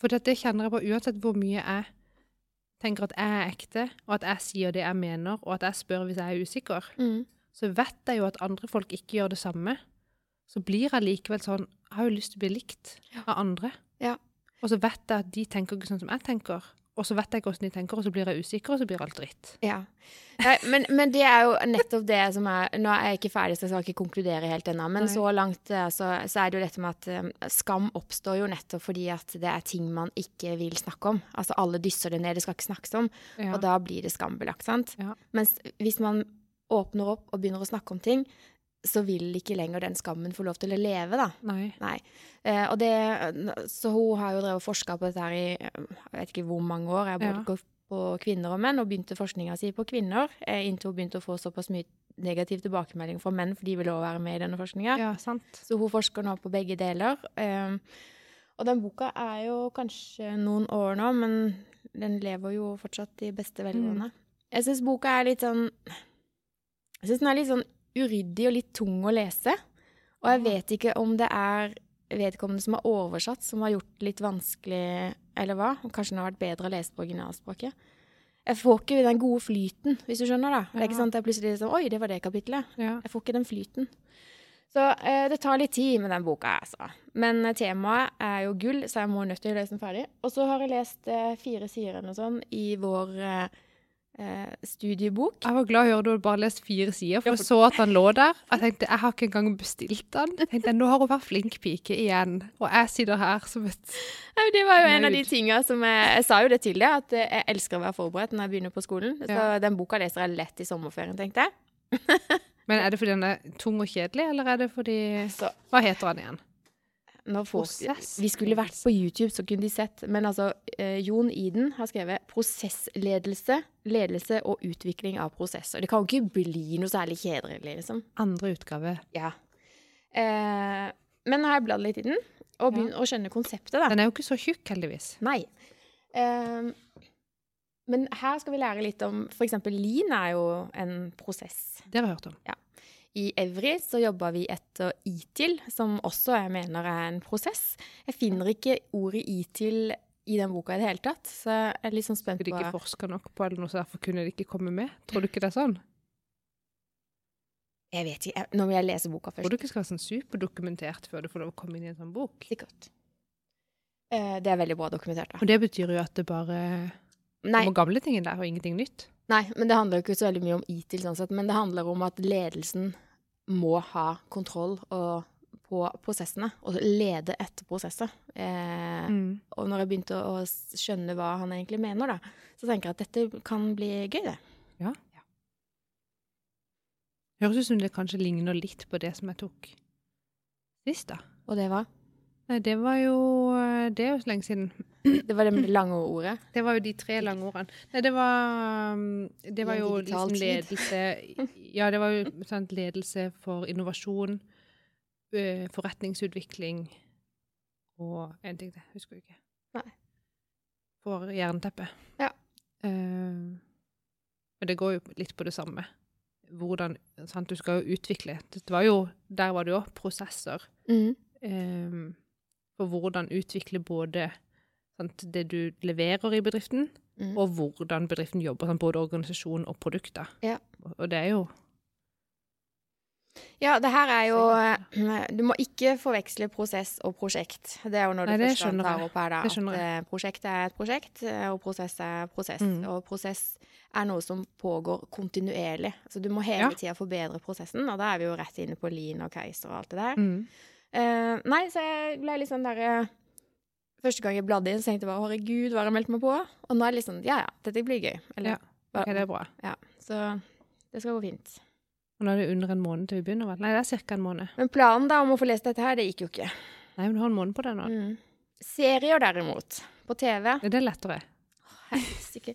Speaker 2: For det, det kjenner jeg på uansett hvor mye jeg tenker at jeg er ekte, og at jeg sier det jeg mener, og at jeg spør hvis jeg er usikker,
Speaker 1: Mm.
Speaker 2: så vet jeg jo at andre folk ikke gjør det samme. Så blir jeg likevel sånn Jeg har jo lyst til å bli likt av andre.
Speaker 1: Ja.
Speaker 2: Og så vet jeg at de tenker ikke sånn som jeg tenker. Og så vet jeg ikke hvordan de tenker, og så blir jeg usikker, og så blir alt dritt.
Speaker 1: Ja. Nei, men, men det er jo nettopp det som er Nå er jeg ikke ferdig, så jeg skal ikke konkludere helt ennå. Men
Speaker 2: Nei.
Speaker 1: så langt eh, så, så er det jo dette med at eh, skam oppstår jo nettopp fordi at det er ting man ikke vil snakke om. Altså alle dysser det ned, det skal ikke snakkes om.
Speaker 2: Ja.
Speaker 1: Og da blir det skambelagt, sant.
Speaker 2: Ja.
Speaker 1: Mens hvis man åpner opp og begynner å snakke om ting, så vil ikke lenger den skammen få lov til å leve, da.
Speaker 2: Nei.
Speaker 1: Eh, og det, så hun har jo drevet og forska på dette her i eh, jeg vet ikke hvor mange år. Jeg har både
Speaker 2: Ja.
Speaker 1: gått på kvinner og menn, og begynte forskninga si på kvinner. eh, Inntil hun begynte å få såpass mye negativ tilbakemelding fra menn, for de ville òg være med i denne forskninga.
Speaker 2: Ja, sant.
Speaker 1: Så hun forsker nå på begge deler. Eh, og den boka er jo kanskje noen år nå, men den lever jo fortsatt i
Speaker 2: Mm.
Speaker 1: beste velgående. Jeg syns boka er litt sånn Jeg syns den er litt sånn uryddig og litt tung å lese. Og jeg
Speaker 2: Ja.
Speaker 1: vet ikke om det er vedkommende som har oversatt, som har gjort det litt vanskelig, eller hva. Kanskje den har vært bedre å lese på originalspråket. Jeg får ikke den gode flyten, hvis du skjønner, da. Det er
Speaker 2: Ja.
Speaker 1: ikke sant at jeg plutselig liksom Oi, det var det kapitlet.
Speaker 2: Ja.
Speaker 1: Jeg får ikke den flyten. Så eh, det tar litt tid med den boka, altså. Men eh, temaet er jo gull, så jeg må nødt til å lese den ferdig. Og så har jeg lest eh, fire sider eller noe sånt i vår eh, eh, studiebok.
Speaker 2: Jeg var glad å høre du hadde bare lest fire sider, for
Speaker 1: Ja,
Speaker 2: jeg så at han lå der. Jeg tenkte, jeg har ikke engang bestilt den. Jeg tenkte, nå har hun vært flink pike igjen, og jeg sitter her som et...
Speaker 1: Nei, Det var jo en av de
Speaker 2: Nøyd.
Speaker 1: tinga som jeg, jeg sa jo det til deg, at eh, jeg elsker å være forberedt når jeg begynner på skolen. Så
Speaker 2: Ja.
Speaker 1: den boka leser jeg lett i sommerferien, tenkte jeg.
Speaker 2: Men er det fordi den er tung og kjedelig, eller er det fordi...
Speaker 1: Så
Speaker 2: Hva heter han igjen?
Speaker 1: når folk,
Speaker 2: Prosess-
Speaker 1: vi skulle vært på YouTube, så kunne de sett. Men altså, eh, Jon Iden har skrevet 'Prosessledelse, ledelse og utvikling av prosesser'. Det kan jo ikke bli noe særlig kjedelig, liksom.
Speaker 2: Andre utgave.
Speaker 1: Ja. Eh, men har jeg bladd litt i den, og begynt å skjønne konseptet, da.
Speaker 2: Den er jo ikke så tjukk, heldigvis.
Speaker 1: Nei. Eh, men her skal vi lære litt om f.eks. Lean er jo en prosess.
Speaker 2: Det har jeg hørt om.
Speaker 1: I Evry så jobber vi etter ITIL, som også jeg mener er en prosess. Jeg finner ikke ordet ITIL i den boka i det hele tatt, så jeg er litt sånn spent
Speaker 2: Skulle de ikke
Speaker 1: på
Speaker 2: forske nok på eller noe, så derfor kunne de ikke komme med? Tror du ikke det er sånn?
Speaker 1: Jeg vet ikke, jeg- nå må jeg lese boka
Speaker 2: Tror
Speaker 1: først.
Speaker 2: du ikke skal være sånn superdokumentert før du får lov å komme inn i en sånn bok?
Speaker 1: Sikkert. Eh, Det er veldig bra dokumentert, da.
Speaker 2: Og det betyr jo at det bare
Speaker 1: Nei,
Speaker 2: kommer gamle tingen der, og ingenting nytt.
Speaker 1: nei, men det handler jo ikke så veldig mye om ITIL, sånn sett, men det handler om at ledelsen må ha kontroll og, på prosessene, og lede etter prosesser. Eh,
Speaker 2: Mm.
Speaker 1: Og når jeg begynte å å skjønne hva han egentlig mener, da, så tenker jeg at dette kan bli gøy, det.
Speaker 2: Høres ut som det kanskje ligner litt på det som jeg tok sist, da.
Speaker 1: Og det var
Speaker 2: Nei, det var jo eh, Det er jo så lenge siden.
Speaker 1: det, var det med det lange ordet.
Speaker 2: Det var jo de tre lange ordene. Nei, det var um, Det
Speaker 1: I
Speaker 2: var
Speaker 1: en
Speaker 2: jo
Speaker 1: digital
Speaker 2: liksom
Speaker 1: tid.
Speaker 2: ledelse Ja, det var jo sant, ledelse for innovasjon, ø, forretningsutvikling og en ting til. Husker jeg ikke.
Speaker 1: Nei.
Speaker 2: For jernteppet.
Speaker 1: Ja.
Speaker 2: Eh, men det går jo litt på det samme. Hvordan sant, Du skal jo utvikle. Det var jo, der var det jo prosesser
Speaker 1: Mm.
Speaker 2: eh, for hvordan utvikle både sant, det du leverer i bedriften,
Speaker 1: Mm.
Speaker 2: og hvordan bedriften jobber, sant, både organisasjon og produkter.
Speaker 1: Ja.
Speaker 2: Og, og det er jo
Speaker 1: Ja, det her er jo eh, Du må ikke forveksle prosess og prosjekt. Det er jo når du
Speaker 2: Nei, det
Speaker 1: først
Speaker 2: skjønner
Speaker 1: tar
Speaker 2: jeg.
Speaker 1: opp her, da.
Speaker 2: Det skjønner
Speaker 1: At eh, prosjekt er et prosjekt, eh, og prosess er prosess.
Speaker 2: Mm.
Speaker 1: Og prosess er noe som pågår kontinuerlig. Så du må
Speaker 2: Ja.
Speaker 1: hele tida forbedre prosessen, og da er vi jo rett inne på Lean og Keiser og alt det der. Eh, nei, så jeg ble litt sånn der eh, Første gang jeg bladde inn, så tenkte jeg bare herregud, hva har jeg meldt meg på? Og nå er det litt sånn ja ja, dette blir gøy. Eller,
Speaker 2: Ja, Ok, det er bra.
Speaker 1: ja, så det skal gå fint.
Speaker 2: Og nå er det under en måned til vi begynner. vel? Nei, det er ca. en måned.
Speaker 1: Men planen da om å få lest dette her, det gikk jo ikke.
Speaker 2: Nei, men du har en måned på deg nå.
Speaker 1: Mm. Serier derimot, på TV
Speaker 2: Er det lettere?
Speaker 1: Helsike.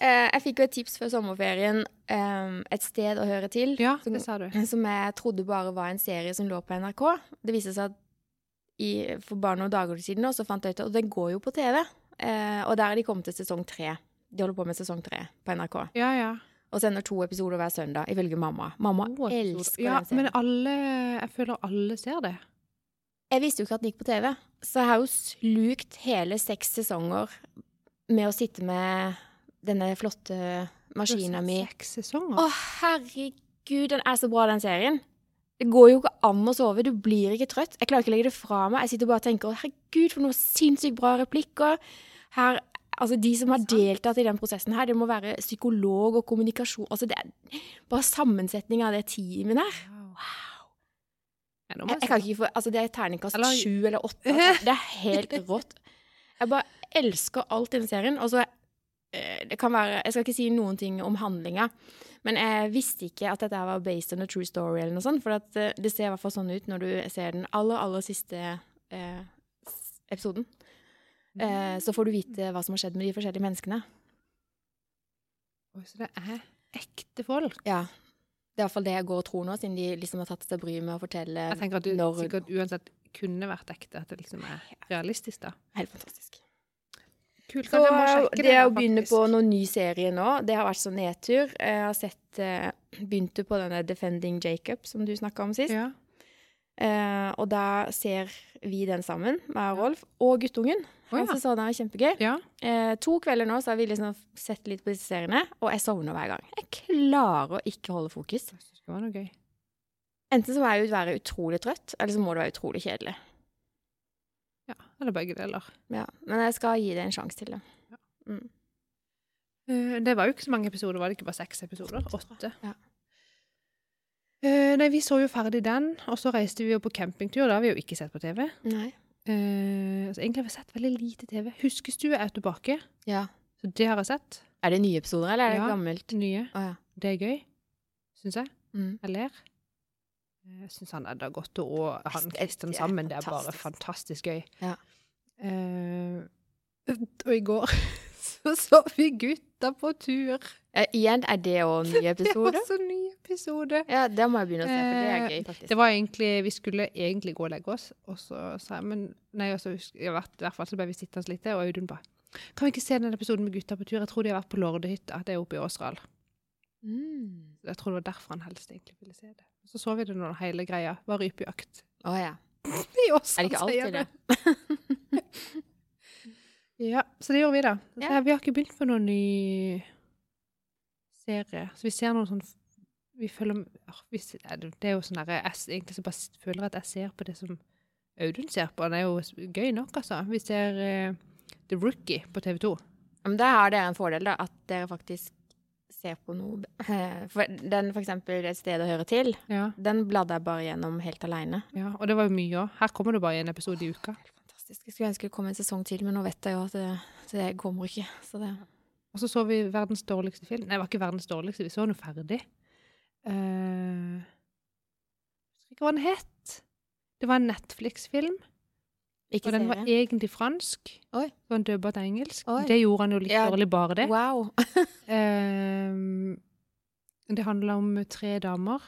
Speaker 1: Eh, jeg fikk jo et tips før sommerferien, eh, et sted å høre til,
Speaker 2: Ja,
Speaker 1: som,
Speaker 2: det sa du.
Speaker 1: eh, som jeg trodde bare var en serie som lå på NRK. Det viste seg at i, for bare noen dager siden nå, så fant jeg ut at og den går jo på TV. Eh, og der er de kommet til sesong tre. De holder på med sesong tre på NRK.
Speaker 2: Ja, ja.
Speaker 1: Og sender to episoder hver søndag, ifølge mamma. Mamma
Speaker 2: To episoder.
Speaker 1: elsker
Speaker 2: ja,
Speaker 1: den serien.
Speaker 2: Men alle, jeg føler alle ser det.
Speaker 1: Jeg visste jo ikke at den gikk på TV, så jeg har jo slukt hele seks sesonger med å sitte med denne flotte maskina mi.
Speaker 2: Seks sesonger.
Speaker 1: Å, herregud, den er så bra, den serien. Det går jo ikke an å sove. Du blir ikke trøtt. Jeg klarer ikke å legge det fra meg. Jeg sitter bare og tenker «Å, herregud, for noen sinnssykt bra replikker. Her, altså, de som har
Speaker 2: Sant.
Speaker 1: deltatt i den prosessen her, det må være psykolog og kommunikasjon. Altså, det er bare sammensetning av det teamet der.
Speaker 2: Wow. Ja, nå må
Speaker 1: Jeg, jeg
Speaker 2: se.
Speaker 1: kan ikke få, altså det er terningkast
Speaker 2: Eller-
Speaker 1: sju eller åtte. Altså. Det er helt rått. Jeg bare elsker alt i den serien. Og så eh, det kan være, Jeg skal ikke si noen ting om handlinga, men jeg visste ikke at dette her var based on a true story, eller noe sånt, for at eh, det ser i hvert fall sånn ut når du ser den aller, aller siste eh, s- episoden. Eh, så får du vite hva som har skjedd med de forskjellige menneskene.
Speaker 2: Oi, så det er ekte folk.
Speaker 1: Ja. Det er i hvert fall det jeg går og tror nå, siden de liksom har tatt seg bryet med å fortelle.
Speaker 2: Jeg tenker at du
Speaker 1: når-
Speaker 2: sikkert uansett kunne vært ekte. At det liksom er realistisk, da.
Speaker 1: Helt fantastisk.
Speaker 2: Kult.
Speaker 1: Så eh,
Speaker 2: jeg må sjekke
Speaker 1: det,
Speaker 2: der,
Speaker 1: å begynne på
Speaker 2: faktisk.
Speaker 1: noen ny serie nå, det har vært sånn nedtur. Jeg har sett eh, Begynte på denne Defending Jacob som du snakka om sist.
Speaker 2: ja.
Speaker 1: Eh, og da ser vi den sammen, meg og Rolf, og guttungen. Han
Speaker 2: Å, ja.
Speaker 1: synes også den er kjempegøy.
Speaker 2: ja.
Speaker 1: Eh, to kvelder nå så har vi liksom sett litt på disse seriene, og jeg sovner hver gang. Jeg klarer å ikke holde fokus.
Speaker 2: Jeg synes det var noe gøy.
Speaker 1: Enten så må jeg jo være utrolig trøtt, eller så må det være utrolig kjedelig.
Speaker 2: Ja, eller begge deler.
Speaker 1: Ja. Men jeg skal gi det en sjanse til, da.
Speaker 2: Eh, Det var jo ikke så mange episoder, var det ikke bare seks episoder? Åtte.
Speaker 1: Ja.
Speaker 2: Eh, Nei, vi så jo ferdig den, og så reiste vi jo på campingtur. Det har vi jo ikke sett på TV.
Speaker 1: Nei.
Speaker 2: Eh, så egentlig har vi sett veldig lite TV. Huskestue er tilbake,
Speaker 1: Ja.
Speaker 2: så det har jeg sett.
Speaker 1: Er det nye episoder, eller er det
Speaker 2: Ja.
Speaker 1: gammelt?
Speaker 2: Det nye.
Speaker 1: Å ja.
Speaker 2: Det er gøy, syns jeg.
Speaker 1: Mm.
Speaker 2: Jeg ler. Eh, Jeg syns han Edda Gotte og han
Speaker 1: Det er
Speaker 2: Kristian sammen, det er bare
Speaker 1: fantastisk.
Speaker 2: fantastisk gøy.
Speaker 1: Ja.
Speaker 2: Eh, og i går så så vi gutta på tur.
Speaker 1: Eh, igjen er det òg nye
Speaker 2: Det var
Speaker 1: episoder.
Speaker 2: så ny episode.
Speaker 1: Ja, det må jeg begynne å se, for det er
Speaker 2: Eh,
Speaker 1: gøy, faktisk.
Speaker 2: Det var egentlig, Vi skulle egentlig gå og legge oss, og så sa jeg men, Nei, og så husk- i hvert, i hvert fall så ble vi sittende litt, og Audun bare Kan vi ikke se den episoden med gutta på tur? Jeg tror de har vært på Lordehytta. Det er oppe i Åseral.
Speaker 1: Mm.
Speaker 2: Jeg tror det var derfor han helst egentlig ville se det. Så så vi det når hele greia var rypejakt.
Speaker 1: Å ja.
Speaker 2: I Åseral,
Speaker 1: Er det ikke
Speaker 2: Sånn sier
Speaker 1: alltid det?
Speaker 2: Ja, så det gjorde vi, da. Så
Speaker 1: Ja.
Speaker 2: Vi har ikke begynt på noen ny serie. Så vi ser noen sånn Vi følger Åh, vi, s- nei, det det er jo sånn derre jeg s- Egentlig så bare s- føler jeg at jeg ser på det som Audun ser på. Det er jo s- gøy nok, altså. Vi ser eh, The Rookie på TV 2.
Speaker 1: Ja, Men der har dere en fordel, da, at dere faktisk ser på noe eh, For den, for eksempel, Et sted å høre til,
Speaker 2: Ja.
Speaker 1: den bladde jeg bare gjennom helt aleine.
Speaker 2: ja. Og det var jo mye òg. Her kommer det bare en episode i uka.
Speaker 1: Fantastisk. Jeg skulle ønske det kom en sesong til, men nå vet jeg jo at det, det kommer ikke. Så det
Speaker 2: Og så så vi verdens dårligste film. Nei, det var ikke verdens dårligste. Vi så den jo ferdig. Eh, Jeg husker ikke hva den het. Det var en Netflix-film.
Speaker 1: Ikke
Speaker 2: Og den var
Speaker 1: serie.
Speaker 2: egentlig fransk.
Speaker 1: Oi.
Speaker 2: Så han dubba til engelsk.
Speaker 1: Oi.
Speaker 2: Det gjorde han jo litt
Speaker 1: Ja.
Speaker 2: dårlig, bare det.
Speaker 1: Wow.
Speaker 2: Ehm, det handla om tre damer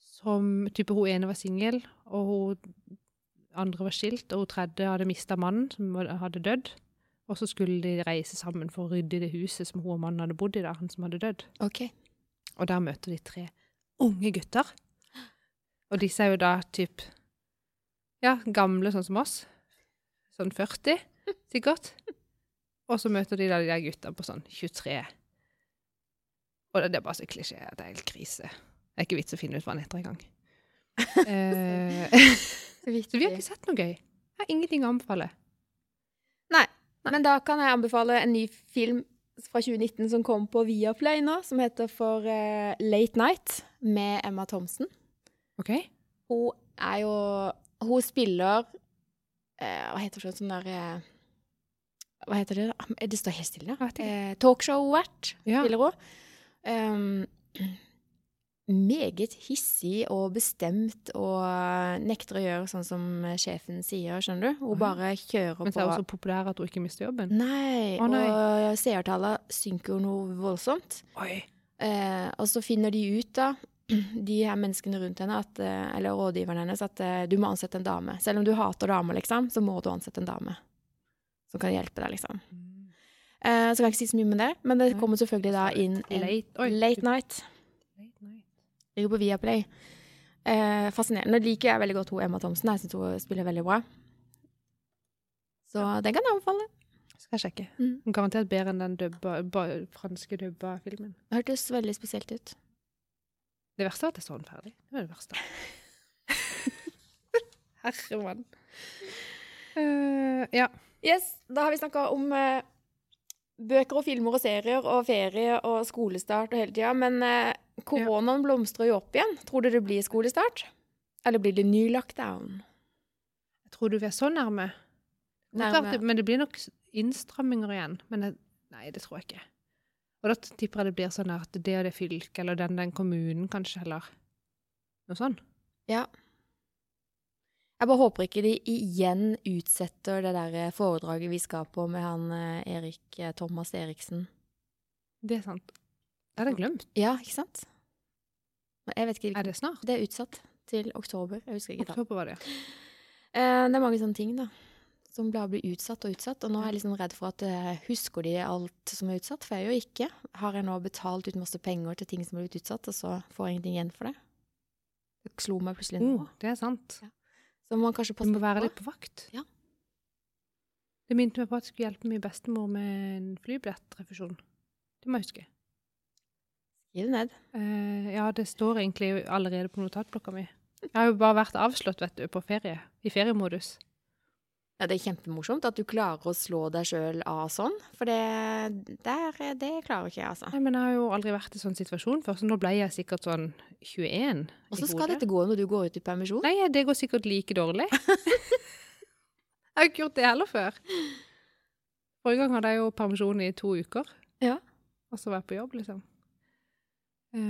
Speaker 2: som type Hun ene var singel, og hun andre var skilt, og hun tredje hadde mista mannen, som var- hadde dødd. Og så skulle de reise sammen for å rydde i det huset som hun og mannen hadde bodd i, da, han som hadde dødd.
Speaker 1: OK.
Speaker 2: Og der møter de tre unge gutter. Og disse er jo da typ Ja, gamle sånn som oss. Sånn 40, sikkert. Og så møter de da de der gutta på sånn 23. Og det er bare så klisjé at det er helt krise. Det er ikke vits å finne ut hva han heter engang. Eh, så vi har ikke sett noe gøy. Jeg har ingenting å anbefale.
Speaker 1: Men da kan jeg anbefale en ny film fra 2019 som kom på Viaplay nå, som heter for eh, Late Night med Emma Thomsen.
Speaker 2: OK?
Speaker 1: Hun er jo Hun spiller eh, Hva heter det sånn der eh, Hva heter det? Ah, Det står helt stille.
Speaker 2: Jeg vet ikke.
Speaker 1: Eh, Talkshow-vert
Speaker 2: Ja.
Speaker 1: spiller hun. Um, meget hissig og bestemt og nekter å gjøre sånn som sjefen sier, skjønner du.
Speaker 2: Å ja.
Speaker 1: Hun bare kjører
Speaker 2: Men så
Speaker 1: på.
Speaker 2: er hun så populær at hun ikke mister jobben.
Speaker 1: Nei,
Speaker 2: Å, nei.
Speaker 1: og seertallet synker jo noe voldsomt.
Speaker 2: Oi.
Speaker 1: Eh, og så finner de ut, da, de her menneskene rundt henne, at, eh, eller rådgiveren hennes, at eh, du må ansette en dame. Selv om du hater damer, liksom, så må du ansette en dame som kan hjelpe deg, liksom. Eh, så kan jeg ikke si så mye med det, men det
Speaker 2: Nei.
Speaker 1: kommer selvfølgelig da inn en late,
Speaker 2: Late, oi.
Speaker 1: night.
Speaker 2: Late night.
Speaker 1: Ligger på Viaplay. Eh, fascinerende. Nå liker jeg veldig godt hun Emma Thomsen. Jeg syns hun spiller veldig bra. Så den kan jeg anbefale.
Speaker 2: Skal jeg sjekke.
Speaker 1: Mm.
Speaker 2: Garantert bedre enn den dubba, ba, franske dubba filmen.
Speaker 1: Hørtes veldig spesielt ut.
Speaker 2: Det verste er at jeg så den ferdig. Det var det verste. Herre mann. Eh, ja.
Speaker 1: Yes, da har vi snakka om eh, bøker og filmer og serier og ferie og skolestart og hele tida. Men eh, koronaen blomstrer jo opp igjen. Tror du det blir skolestart? Eller blir det ny lockdown?
Speaker 2: Jeg tror du vi er så nærme. Det er
Speaker 1: Nærme.
Speaker 2: klart det- Men det blir nok s- innstramminger igjen. Men jeg, Nei, det tror jeg ikke. Og da tipper jeg det blir sånn her at det og det fylket, eller den den kommunen kanskje, eller noe sånn.
Speaker 1: Jeg bare håper ikke de igjen utsetter det der eh, foredraget vi skal på med han eh, Erik eh, Thomas Eriksen.
Speaker 2: Det er sant. Det hadde jeg glemt.
Speaker 1: Ja, ikke sant? Jeg vet ikke
Speaker 2: Er det snart?
Speaker 1: Det er utsatt til oktober. Jeg husker ikke da.
Speaker 2: Oktober var det, ja.
Speaker 1: Eh, det er mange sånne ting, da. Som bare blir utsatt og utsatt. Og nå er jeg liksom redd for at eh, husker de alt som er utsatt? For jeg er jo ikke. Har jeg nå betalt ut masse penger til ting som er blitt utsatt, og så får jeg ingenting igjen for det? Det slo meg plutselig nå.
Speaker 2: Oh, det er sant.
Speaker 1: Så må man kanskje
Speaker 2: Du
Speaker 1: passe
Speaker 2: må være
Speaker 1: på.
Speaker 2: litt på vakt.
Speaker 1: Ja.
Speaker 2: Det minte meg på at jeg skulle hjelpe min bestemor med en flybillettrefusjon. Det må jeg huske.
Speaker 1: Skriv det ned.
Speaker 2: Eh, ja, det står egentlig allerede på notatblokka mi. Jeg har jo bare vært avslått, vet du, på ferie. I feriemodus.
Speaker 1: Ja, det er kjempemorsomt at du klarer å slå deg sjøl av sånn, for det, der, eh, det klarer ikke jeg, altså.
Speaker 2: Nei, men jeg har jo aldri vært i sånn situasjon før, så nå ble jeg sikkert sånn 21
Speaker 1: Og så skal dette gå når du går ut i permisjon.
Speaker 2: Nei, det går sikkert like dårlig. jeg har ikke gjort det heller før. Forrige gang hadde jeg jo permisjon i to uker.
Speaker 1: Ja.
Speaker 2: Og så var jeg på jobb, liksom. Eh,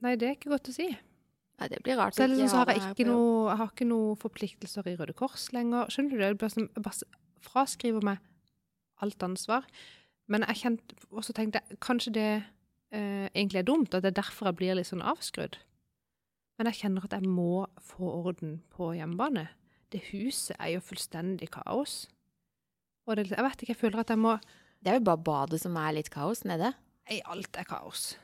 Speaker 2: nei, det er ikke godt å si.
Speaker 1: Nei, det blir rart.
Speaker 2: Så,
Speaker 1: å
Speaker 2: er det sånn, så har
Speaker 1: ha
Speaker 2: jeg,
Speaker 1: det her
Speaker 2: ikke
Speaker 1: på jobb.
Speaker 2: noe, jeg har ikke noe forpliktelser i Røde Kors lenger. Skjønner du det? Jeg bare, sånn- jeg bare s- fraskriver meg alt ansvar. Men jeg kjente, og så tenkte jeg kanskje det eh, egentlig er dumt, at det er derfor jeg blir litt sånn avskrudd. Men jeg kjenner at jeg må få orden på hjemmebane. Det huset er jo fullstendig kaos. Og det, er litt- jeg vet ikke, jeg føler at jeg må
Speaker 1: Det er jo bare badet som er litt kaos nede.
Speaker 2: Nei, alt er kaos.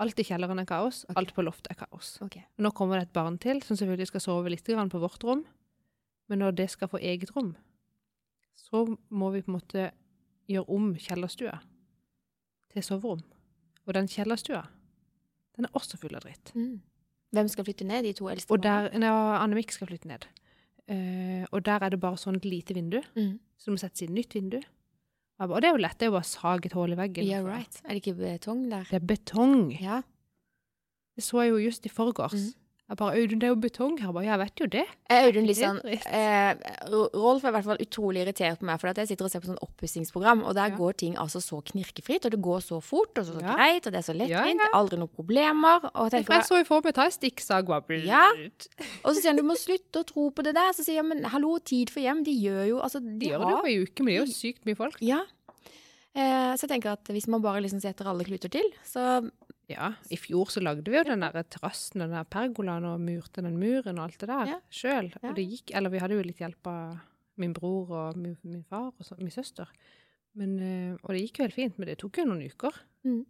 Speaker 2: Alt i kjelleren er kaos. Alt på loftet er kaos.
Speaker 1: Ok.
Speaker 2: Nå kommer det et barn til, som selvfølgelig skal sove litt grann på vårt rom. Men når det skal få eget rom, så må vi på en måte gjøre om kjellerstua til soverom. Og den kjellerstua, den er også full av dritt.
Speaker 1: Mm. Hvem skal flytte ned? De to eldste?
Speaker 2: Og
Speaker 1: barna?
Speaker 2: der, nei, Anne Mikk skal flytte ned. Eh, og der er det bare sånn lite vindu,
Speaker 1: mm.
Speaker 2: så du må sette inn nytt vindu. Og jeg bare, «Å, det er jo lett, det er jo bare å sage et hull i veggen. altså.
Speaker 1: Yeah, right. Er det ikke betong der?
Speaker 2: Det er betong.
Speaker 1: Ja.
Speaker 2: Det så jeg jo just i forgårs.
Speaker 1: Mhm.
Speaker 2: Jeg bare 'Audun, det er jo betong her.' Jeg bare, 'Jeg vet jo det.'
Speaker 1: Eh, Audun litt
Speaker 2: Det er
Speaker 1: sånn
Speaker 2: dritt.
Speaker 1: eh, Ro- Rolf er i hvert fall utrolig irritert på meg, for at jeg sitter og ser på sånn oppussingsprogram, og der
Speaker 2: Ja.
Speaker 1: går ting altså så knirkefritt, og det går så fort, og så,
Speaker 2: Ja.
Speaker 1: greit, og det er så lettvint,
Speaker 2: Ja, ja.
Speaker 1: det er aldri noen problemer. Og, jeg
Speaker 2: For jeg
Speaker 1: tenker,
Speaker 2: så jo for meg ta en stikksag og bare
Speaker 1: Ja. og så sier han du må slutte å tro på det der. Så sier jeg men hallo, tid for hjem, de gjør jo altså, de
Speaker 2: De gjør det jo
Speaker 1: har
Speaker 2: på ei uke, men det er jo sykt mye folk.
Speaker 1: Ja. Eh, så jeg tenker at hvis man bare liksom setter alle kluter til, så
Speaker 2: Ja, I fjor så lagde vi jo den der terrassen og den der pergolaen og murte den muren og alt det der
Speaker 1: Ja.
Speaker 2: sjøl.
Speaker 1: Ja.
Speaker 2: Og det gikk Eller vi hadde jo litt hjelp av min bror og min, min far og så, min søster. Men, eh, og det gikk jo helt fint, men det tok jo noen uker.
Speaker 1: Mhm.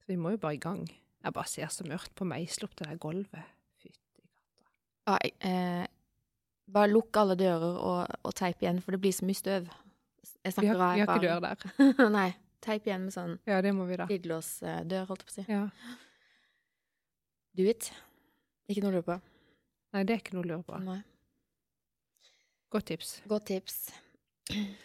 Speaker 2: Så vi må jo bare i gang. Jeg bare ser så mørkt på meisel opp det der gulvet. Fytti katta.
Speaker 1: Ja, jeg- eh, bare lukk alle dører og, og teip igjen, for det blir så mye støv. Jeg
Speaker 2: Vi
Speaker 1: snakker
Speaker 2: har, vi har ikke
Speaker 1: erfaring.
Speaker 2: dør der.
Speaker 1: Nei, teip igjen med sånn
Speaker 2: Ja, det må vi da.
Speaker 1: glidelåsdør, holdt jeg på å si.
Speaker 2: Ja.
Speaker 1: Do it. Ikke noe å lure på.
Speaker 2: Nei, det er ikke noe å lure på.
Speaker 1: Nei.
Speaker 2: Godt tips.
Speaker 1: Godt tips.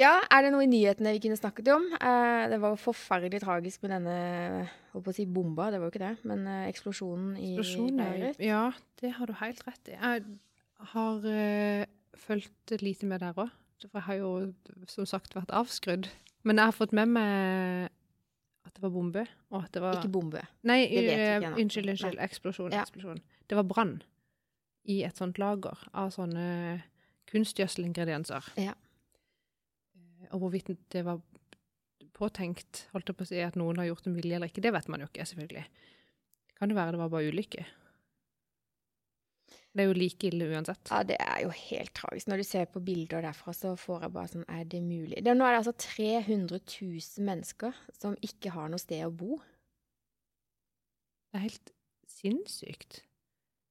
Speaker 1: Ja, er det noe i nyhetene vi kunne snakket om? Eh, det var jo forferdelig tragisk med denne jeg holdt på å si bomba, det var jo ikke det, men eh, eksplosjonen i Beirut.
Speaker 2: Ja, det har du helt rett i. Jeg har eh, fulgt lite med der òg. For jeg har jo som sagt vært avskrudd. Men jeg har fått med meg at det var bombe, og at det var
Speaker 1: Ikke bombe.
Speaker 2: Nei,
Speaker 1: Det vet vi
Speaker 2: eh,
Speaker 1: ikke ennå.
Speaker 2: unnskyld, unnskyld. Eksplosjon.
Speaker 1: Ja.
Speaker 2: eksplosjon. Det var brann i et sånt lager av sånne kunstgjødselingredienser.
Speaker 1: Ja.
Speaker 2: Eh, Og hvorvidt det var påtenkt, holdt jeg på å si, at noen har gjort det med vilje eller ikke, det vet man jo ikke, selvfølgelig. Kan det være det var bare ulykke? Det er jo like ille uansett.
Speaker 1: Ja, det er jo helt tragisk. Når du ser på bilder derfra, så får jeg bare sånn Er det mulig? Det, nå er det altså 300 000 mennesker som ikke har noe sted å bo,
Speaker 2: Det er helt sinnssykt.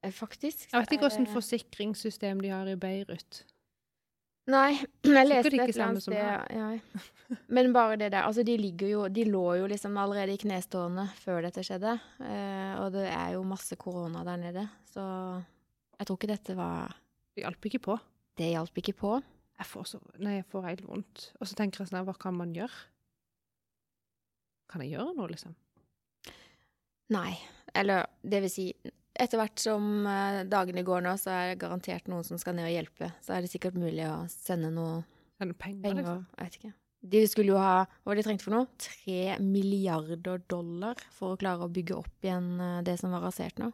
Speaker 1: eh, faktisk. Eh,
Speaker 2: Jeg vet
Speaker 1: så er
Speaker 2: ikke åssen
Speaker 1: det-
Speaker 2: forsikringssystem de har i Beirut.
Speaker 1: Nei, jeg leste
Speaker 2: Sikkert ikke
Speaker 1: et eller annet
Speaker 2: samme som
Speaker 1: sted ja. Men bare det der. Altså, de, ligger jo, de lå jo liksom allerede i knestående før dette skjedde. Eh, og det er jo masse korona der nede, så jeg tror ikke dette var
Speaker 2: Det hjalp ikke på.
Speaker 1: Det hjalp ikke på.
Speaker 2: jeg får, så, nei, jeg får helt vondt. Og så tenker jeg sånn her, hva kan man gjøre? Kan jeg gjøre noe, liksom?
Speaker 1: Nei. Eller det vil si, etter hvert som eh, dagene går nå, så er det garantert noen som skal ned og hjelpe. Så er det sikkert mulig å sende noe
Speaker 2: Sende penger,
Speaker 1: penger.
Speaker 2: liksom?
Speaker 1: Jeg vet ikke. De skulle jo ha Hva var det de trengte for noe? Tre milliarder dollar for å klare å bygge opp igjen eh, det som var rasert nå.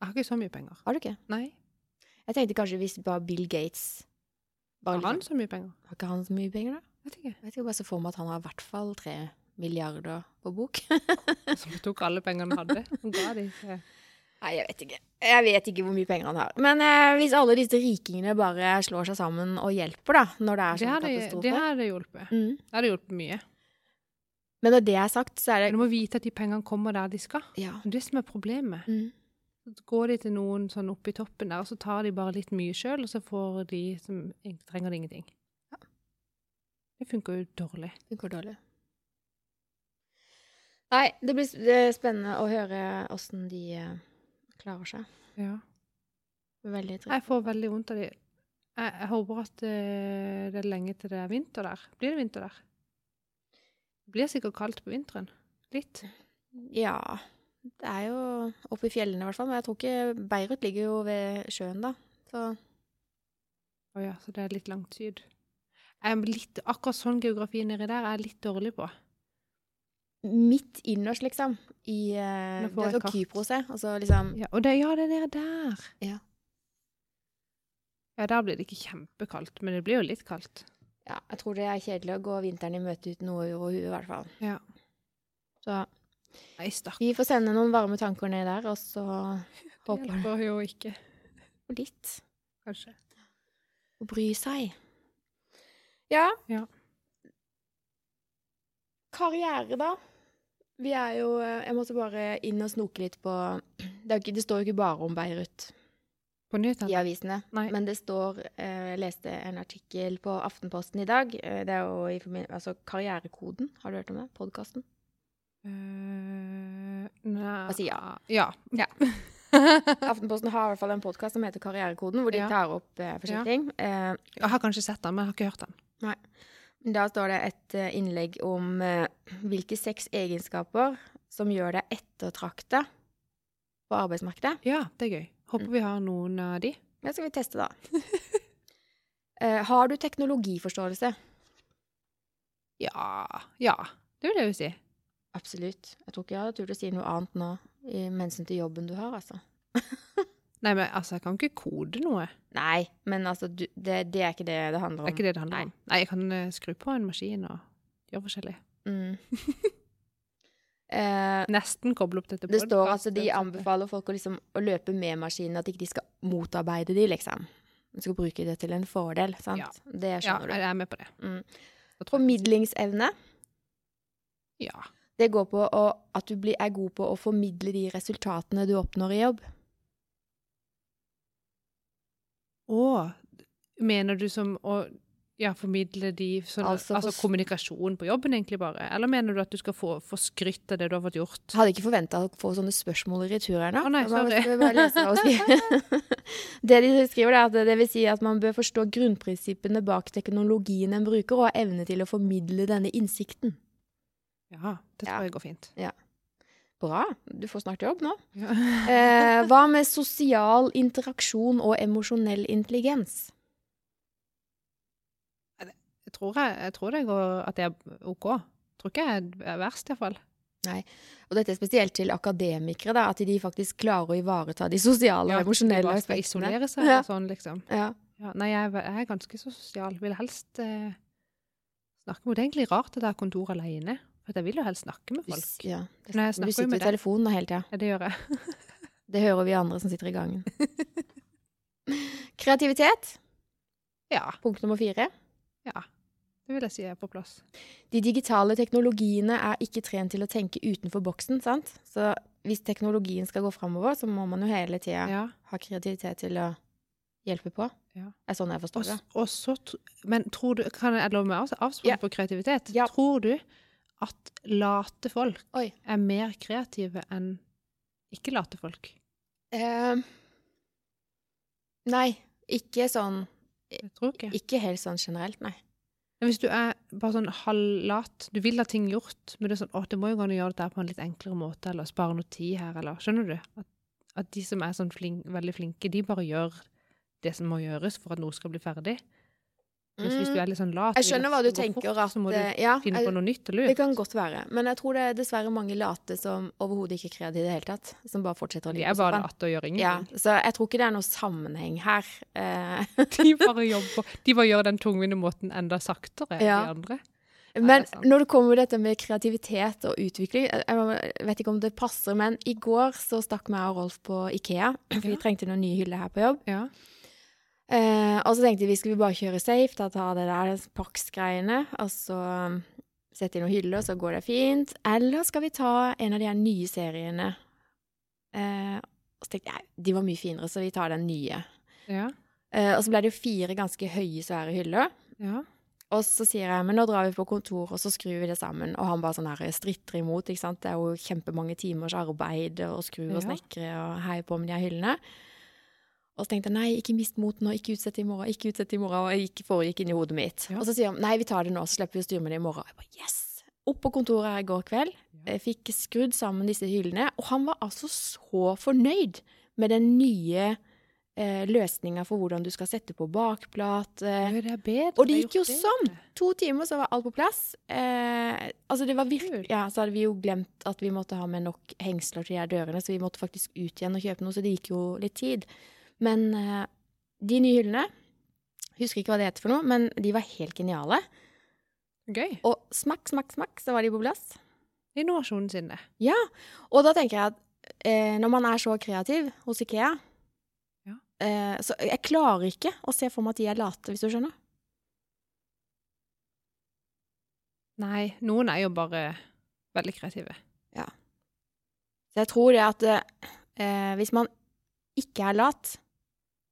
Speaker 2: Jeg har ikke så mye penger.
Speaker 1: Har du ikke?
Speaker 2: Nei.
Speaker 1: Jeg tenkte kanskje hvis bare Bill Gates bare
Speaker 2: Har han
Speaker 1: liksom,
Speaker 2: så mye penger?
Speaker 1: Har ikke han så mye penger, da?
Speaker 2: Vet ikke.
Speaker 1: Jeg vet ikke, bare så for meg at han har i hvert fall tre milliarder på bok.
Speaker 2: Som tok alle pengene han hadde. Og ga de til
Speaker 1: Nei, jeg vet ikke. Jeg vet ikke hvor mye penger han har. Men eh, hvis alle disse rikingene bare slår seg sammen og hjelper, da, når det er
Speaker 2: Det
Speaker 1: sånne
Speaker 2: hadde,
Speaker 1: katastrofer
Speaker 2: det hadde hjulpet.
Speaker 1: mm.
Speaker 2: Det hadde hjulpet mye.
Speaker 1: Men når det er sagt, så er
Speaker 2: Men
Speaker 1: det
Speaker 2: du må vite at de pengene kommer der de skal.
Speaker 1: Ja.
Speaker 2: Det er det som er problemet.
Speaker 1: Mm.
Speaker 2: Så går de til noen sånn oppe i toppen der, og så tar de bare litt mye sjøl, og så får de som egentlig trenger det, ingenting. Det funker jo dårlig.
Speaker 1: Det går dårlig. Nei, det blir s- det er spennende å høre åssen de eh, klarer seg. Veldig trist.
Speaker 2: Jeg får veldig vondt av de. Jeg, jeg håper at eh, det er lenge til det er vinter der. Blir det vinter der? Det blir sikkert kaldt på vinteren. Litt.
Speaker 1: Ja. Det er jo oppe i fjellene, i hvert fall. Men jeg tror ikke Beirut ligger jo ved sjøen, da. Så
Speaker 2: Å ja, så det er litt langt syd. Jeg er litt, akkurat sånn geografi nedi der er jeg litt dårlig på.
Speaker 1: midt innerst, liksom, i eh,
Speaker 2: Nå
Speaker 1: Det
Speaker 2: får
Speaker 1: er
Speaker 2: jeg
Speaker 1: så
Speaker 2: kart.
Speaker 1: Kypros er. Og så liksom
Speaker 2: Ja, og det, ja, det er der.
Speaker 1: Ja.
Speaker 2: Ja, der blir det ikke kjempekaldt, men det blir jo litt kaldt.
Speaker 1: Ja, jeg tror det er kjedelig å gå vinteren i møte uten noe over huet, i hvert fall.
Speaker 2: Ja.
Speaker 1: Så
Speaker 2: Nei, stakkar.
Speaker 1: vi får sende noen varme tanker ned der, og så
Speaker 2: Det
Speaker 1: håper jeg
Speaker 2: hjelper jo ikke,
Speaker 1: på litt.
Speaker 2: kanskje.
Speaker 1: Å bry seg. Ja.
Speaker 2: Ja.
Speaker 1: Karriere, da. Vi er jo eh, Jeg måtte bare inn og snoke litt på Det, er jo ikke, det står jo ikke bare om Beirut
Speaker 2: På nyhetene?
Speaker 1: i avisene.
Speaker 2: Nei.
Speaker 1: Men det står eh, Jeg leste en artikkel på Aftenposten i dag. eh, Det er jo i forbi- altså Karrierekoden. Har du hørt om det? Podkasten?
Speaker 2: Eh, nei
Speaker 1: Hva sier jeg?
Speaker 2: Ja.
Speaker 1: Ja. Aftenposten har i hvert fall en podkast som heter Karrierekoden, hvor de
Speaker 2: Ja.
Speaker 1: tar opp eh,
Speaker 2: Ja.
Speaker 1: forskjellige ting. Eh,
Speaker 2: Jeg har kanskje sett den, men jeg har ikke hørt den.
Speaker 1: Da står det et eh, innlegg om eh, hvilke seks egenskaper som gjør deg ettertrakta på arbeidsmarkedet.
Speaker 2: Ja, det er gøy.
Speaker 1: Mm.
Speaker 2: Håper vi har noen av de.
Speaker 1: Det skal vi teste, da. Eh, har du teknologiforståelse?
Speaker 2: Ja. Ja. Det vil jeg jo si.
Speaker 1: Absolutt. Jeg tror ikke jeg hadde turt å si noe annet nå i- med hensyn til jobben du har, altså.
Speaker 2: Nei, men altså, jeg kan ikke kode noe.
Speaker 1: Nei, men altså, du, det, det er ikke det det handler om.
Speaker 2: Det er ikke det det handler om. Nei, jeg kan eh, skru på en maskin og gjøre forskjellig.
Speaker 1: Mm. Eh,
Speaker 2: Nesten koble opp dette
Speaker 1: det står at altså,
Speaker 2: podcasten,
Speaker 1: de
Speaker 2: så-
Speaker 1: anbefaler folk å, liksom, å løpe med maskinen, at ikke de skal motarbeide de, liksom. De skal bruke det til en fordel, sant?
Speaker 2: Ja.
Speaker 1: Det
Speaker 2: Ja,
Speaker 1: skjønner
Speaker 2: jeg er med på det.
Speaker 1: du. Mm.
Speaker 2: Da tror jeg-
Speaker 1: Formidlingsevne,
Speaker 2: Ja.
Speaker 1: det går på å, at du blir, er god på å formidle de resultatene du oppnår i jobb.
Speaker 2: Å, mener du som å ja, formidle de sånn,
Speaker 1: Altså
Speaker 2: altså,
Speaker 1: på s-
Speaker 2: kommunikasjon på jobben, egentlig bare? Eller mener du at du skal få, få skrytt av det du har fått gjort?
Speaker 1: Jeg hadde ikke forventa å få sånne spørsmål i retur her nå.
Speaker 2: Å nei,
Speaker 1: Jeg bare-
Speaker 2: sorry.
Speaker 1: skal bare lese og skrive. det de skriver, det er at det vil si at man bør forstå grunnprinsippene bak teknologien en bruker, og ha evne til å formidle denne innsikten.
Speaker 2: Ja, det
Speaker 1: Ja.
Speaker 2: tror jeg går fint.
Speaker 1: Bra. Du får snart jobb nå.
Speaker 2: Ja.
Speaker 1: Eh, hva med sosial interaksjon og emosjonell intelligens?
Speaker 2: Jeg, tror jeg, jeg tror det går at det er OK. Tror ikke jeg er verst, iallfall.
Speaker 1: Og dette er spesielt til akademikere, da, at de faktisk klarer å ivareta de sosiale og emosjonelle
Speaker 2: bare skal
Speaker 1: aspektene.
Speaker 2: isolere seg
Speaker 1: Ja.
Speaker 2: og sånn, liksom.
Speaker 1: Ja.
Speaker 2: Ja, nei, jeg, er ve- jeg er ganske så sosial. Vil helst eh, snakke med Det er egentlig rart at jeg har kontor alene. For at jeg vil jo helst snakke med folk.
Speaker 1: Ja. det-
Speaker 2: Nei, jeg
Speaker 1: Men
Speaker 2: snakker jo
Speaker 1: du sitter
Speaker 2: med
Speaker 1: ved
Speaker 2: deg.
Speaker 1: telefonen da hele tida.
Speaker 2: Ja, det gjør jeg.
Speaker 1: Det hører vi andre som sitter i gangen. Kreativitet,
Speaker 2: Ja,
Speaker 1: punkt nummer fire.
Speaker 2: det vil jeg si er på plass.
Speaker 1: De digitale teknologiene er ikke trent til å tenke utenfor boksen, sant? Så hvis teknologien skal gå framover, så må man jo hele tida
Speaker 2: Ja.
Speaker 1: ha kreativitet til å hjelpe på.
Speaker 2: Ja.
Speaker 1: Det er sånn jeg
Speaker 2: Og,
Speaker 1: forstår det.
Speaker 2: s- og så tr- Men tror du Kan jeg love meg også avspore
Speaker 1: Ja.
Speaker 2: på kreativitet?
Speaker 1: Ja.
Speaker 2: Tror du at late folk
Speaker 1: Oi.
Speaker 2: er mer kreative enn ikke late folk?
Speaker 1: Eh, nei, ikke sånn
Speaker 2: Jeg tror ikke.
Speaker 1: Ikke helt sånn generelt, nei.
Speaker 2: Men Hvis du er bare sånn halvlat, du vil ha ting gjort, men det er sånn, å, det må jo gå an å gjøre dette på en litt enklere måte, eller spare noe tid her, eller Skjønner du? At, at de som er sånn flink, veldig flinke, de bare gjør det som må gjøres for at noe skal bli ferdig. Pluss hvis
Speaker 1: Mm.
Speaker 2: du er litt sånn lat og
Speaker 1: Jeg skjønner
Speaker 2: vil
Speaker 1: hva
Speaker 2: at
Speaker 1: du
Speaker 2: det skal gå
Speaker 1: tenker.
Speaker 2: fort,
Speaker 1: At,
Speaker 2: så må du
Speaker 1: eh, ja,
Speaker 2: finne på
Speaker 1: jeg,
Speaker 2: noe nytt og
Speaker 1: det
Speaker 2: lurt.
Speaker 1: kan godt være. Men jeg tror det er dessverre mange late som overhodet ikke er kreative i det hele tatt. Som bare fortsetter å
Speaker 2: De
Speaker 1: ligge
Speaker 2: er
Speaker 1: på
Speaker 2: bare
Speaker 1: sofaen.
Speaker 2: late og gjør
Speaker 1: Ja,
Speaker 2: ingenting.
Speaker 1: så jeg tror ikke det er noe sammenheng her. Eh,
Speaker 2: De bare jobber. De bare gjør den tungvinte måten enda saktere enn
Speaker 1: Ja.
Speaker 2: de andre.
Speaker 1: Men
Speaker 2: det er sant.
Speaker 1: når det kommer til dette med kreativitet og utvikling eh, jeg- Jeg vet ikke om det passer, men i går så stakk meg og Rolf på Ikea. For vi
Speaker 2: Ja.
Speaker 1: trengte noen nye hyller her på jobb.
Speaker 2: Ja.
Speaker 1: Eh, og så tenkte vi skulle vi bare kjøre safe, da ta det der Pax-greiene, og så um, sette i noen hyller, så går det fint. Eller skal vi ta en av de her nye seriene? Eh, og så tenkte jeg, de var mye finere, så vi tar den nye.
Speaker 2: Ja.
Speaker 1: Eh, og så ble det jo fire ganske høye, svære hyller.
Speaker 2: ja.
Speaker 1: Eh, Og så sier jeg, men nå drar vi på kontor, og så skrur vi det sammen. Og han bare sånn her stritter imot, ikke sant. Det er jo kjempemange timers arbeid og skru og
Speaker 2: Ja.
Speaker 1: snekre og hei på med de her hyllene. Og så tenkte jeg, nei, ikke mist motet nå, ikke utsett i morgen, ikke utsett i morgen. Og jeg gikk, foregikk inn i hodet mitt.
Speaker 2: Ja.
Speaker 1: Og så sier han, nei, vi tar det nå, så slipper vi å styre med det i morgen. Og jeg bare, yes! Opp på kontoret her i går kveld,
Speaker 2: Ja.
Speaker 1: jeg fikk skrudd sammen disse hyllene, og han var altså så fornøyd med den nye eh, løsninga for hvordan du skal sette på bakplate.
Speaker 2: Jo, det er bedre.
Speaker 1: Og det
Speaker 2: har
Speaker 1: gikk jo
Speaker 2: gjort
Speaker 1: sånn. To timer, så var alt på plass. Eh, altså det var virkelig,
Speaker 2: Kult.
Speaker 1: ja, Så hadde vi jo glemt at vi måtte ha med nok hengsler til de her dørene, så vi måtte faktisk ut igjen og kjøpe noe, så det gikk jo litt tid. Men eh, de nye hyllene Husker ikke hva det heter for noe, men de var helt geniale.
Speaker 2: Gøy.
Speaker 1: Og smakk, smakk, smakk, så var de på plass.
Speaker 2: Innovasjonen sin, det.
Speaker 1: Ja, og da tenker jeg at eh, når man er så kreativ hos Ikea
Speaker 2: Ja.
Speaker 1: eh, Så jeg klarer ikke å se for meg at de er late, hvis du skjønner.
Speaker 2: Nei, noen er jo bare veldig kreative.
Speaker 1: Så jeg tror det at eh, hvis man ikke er lat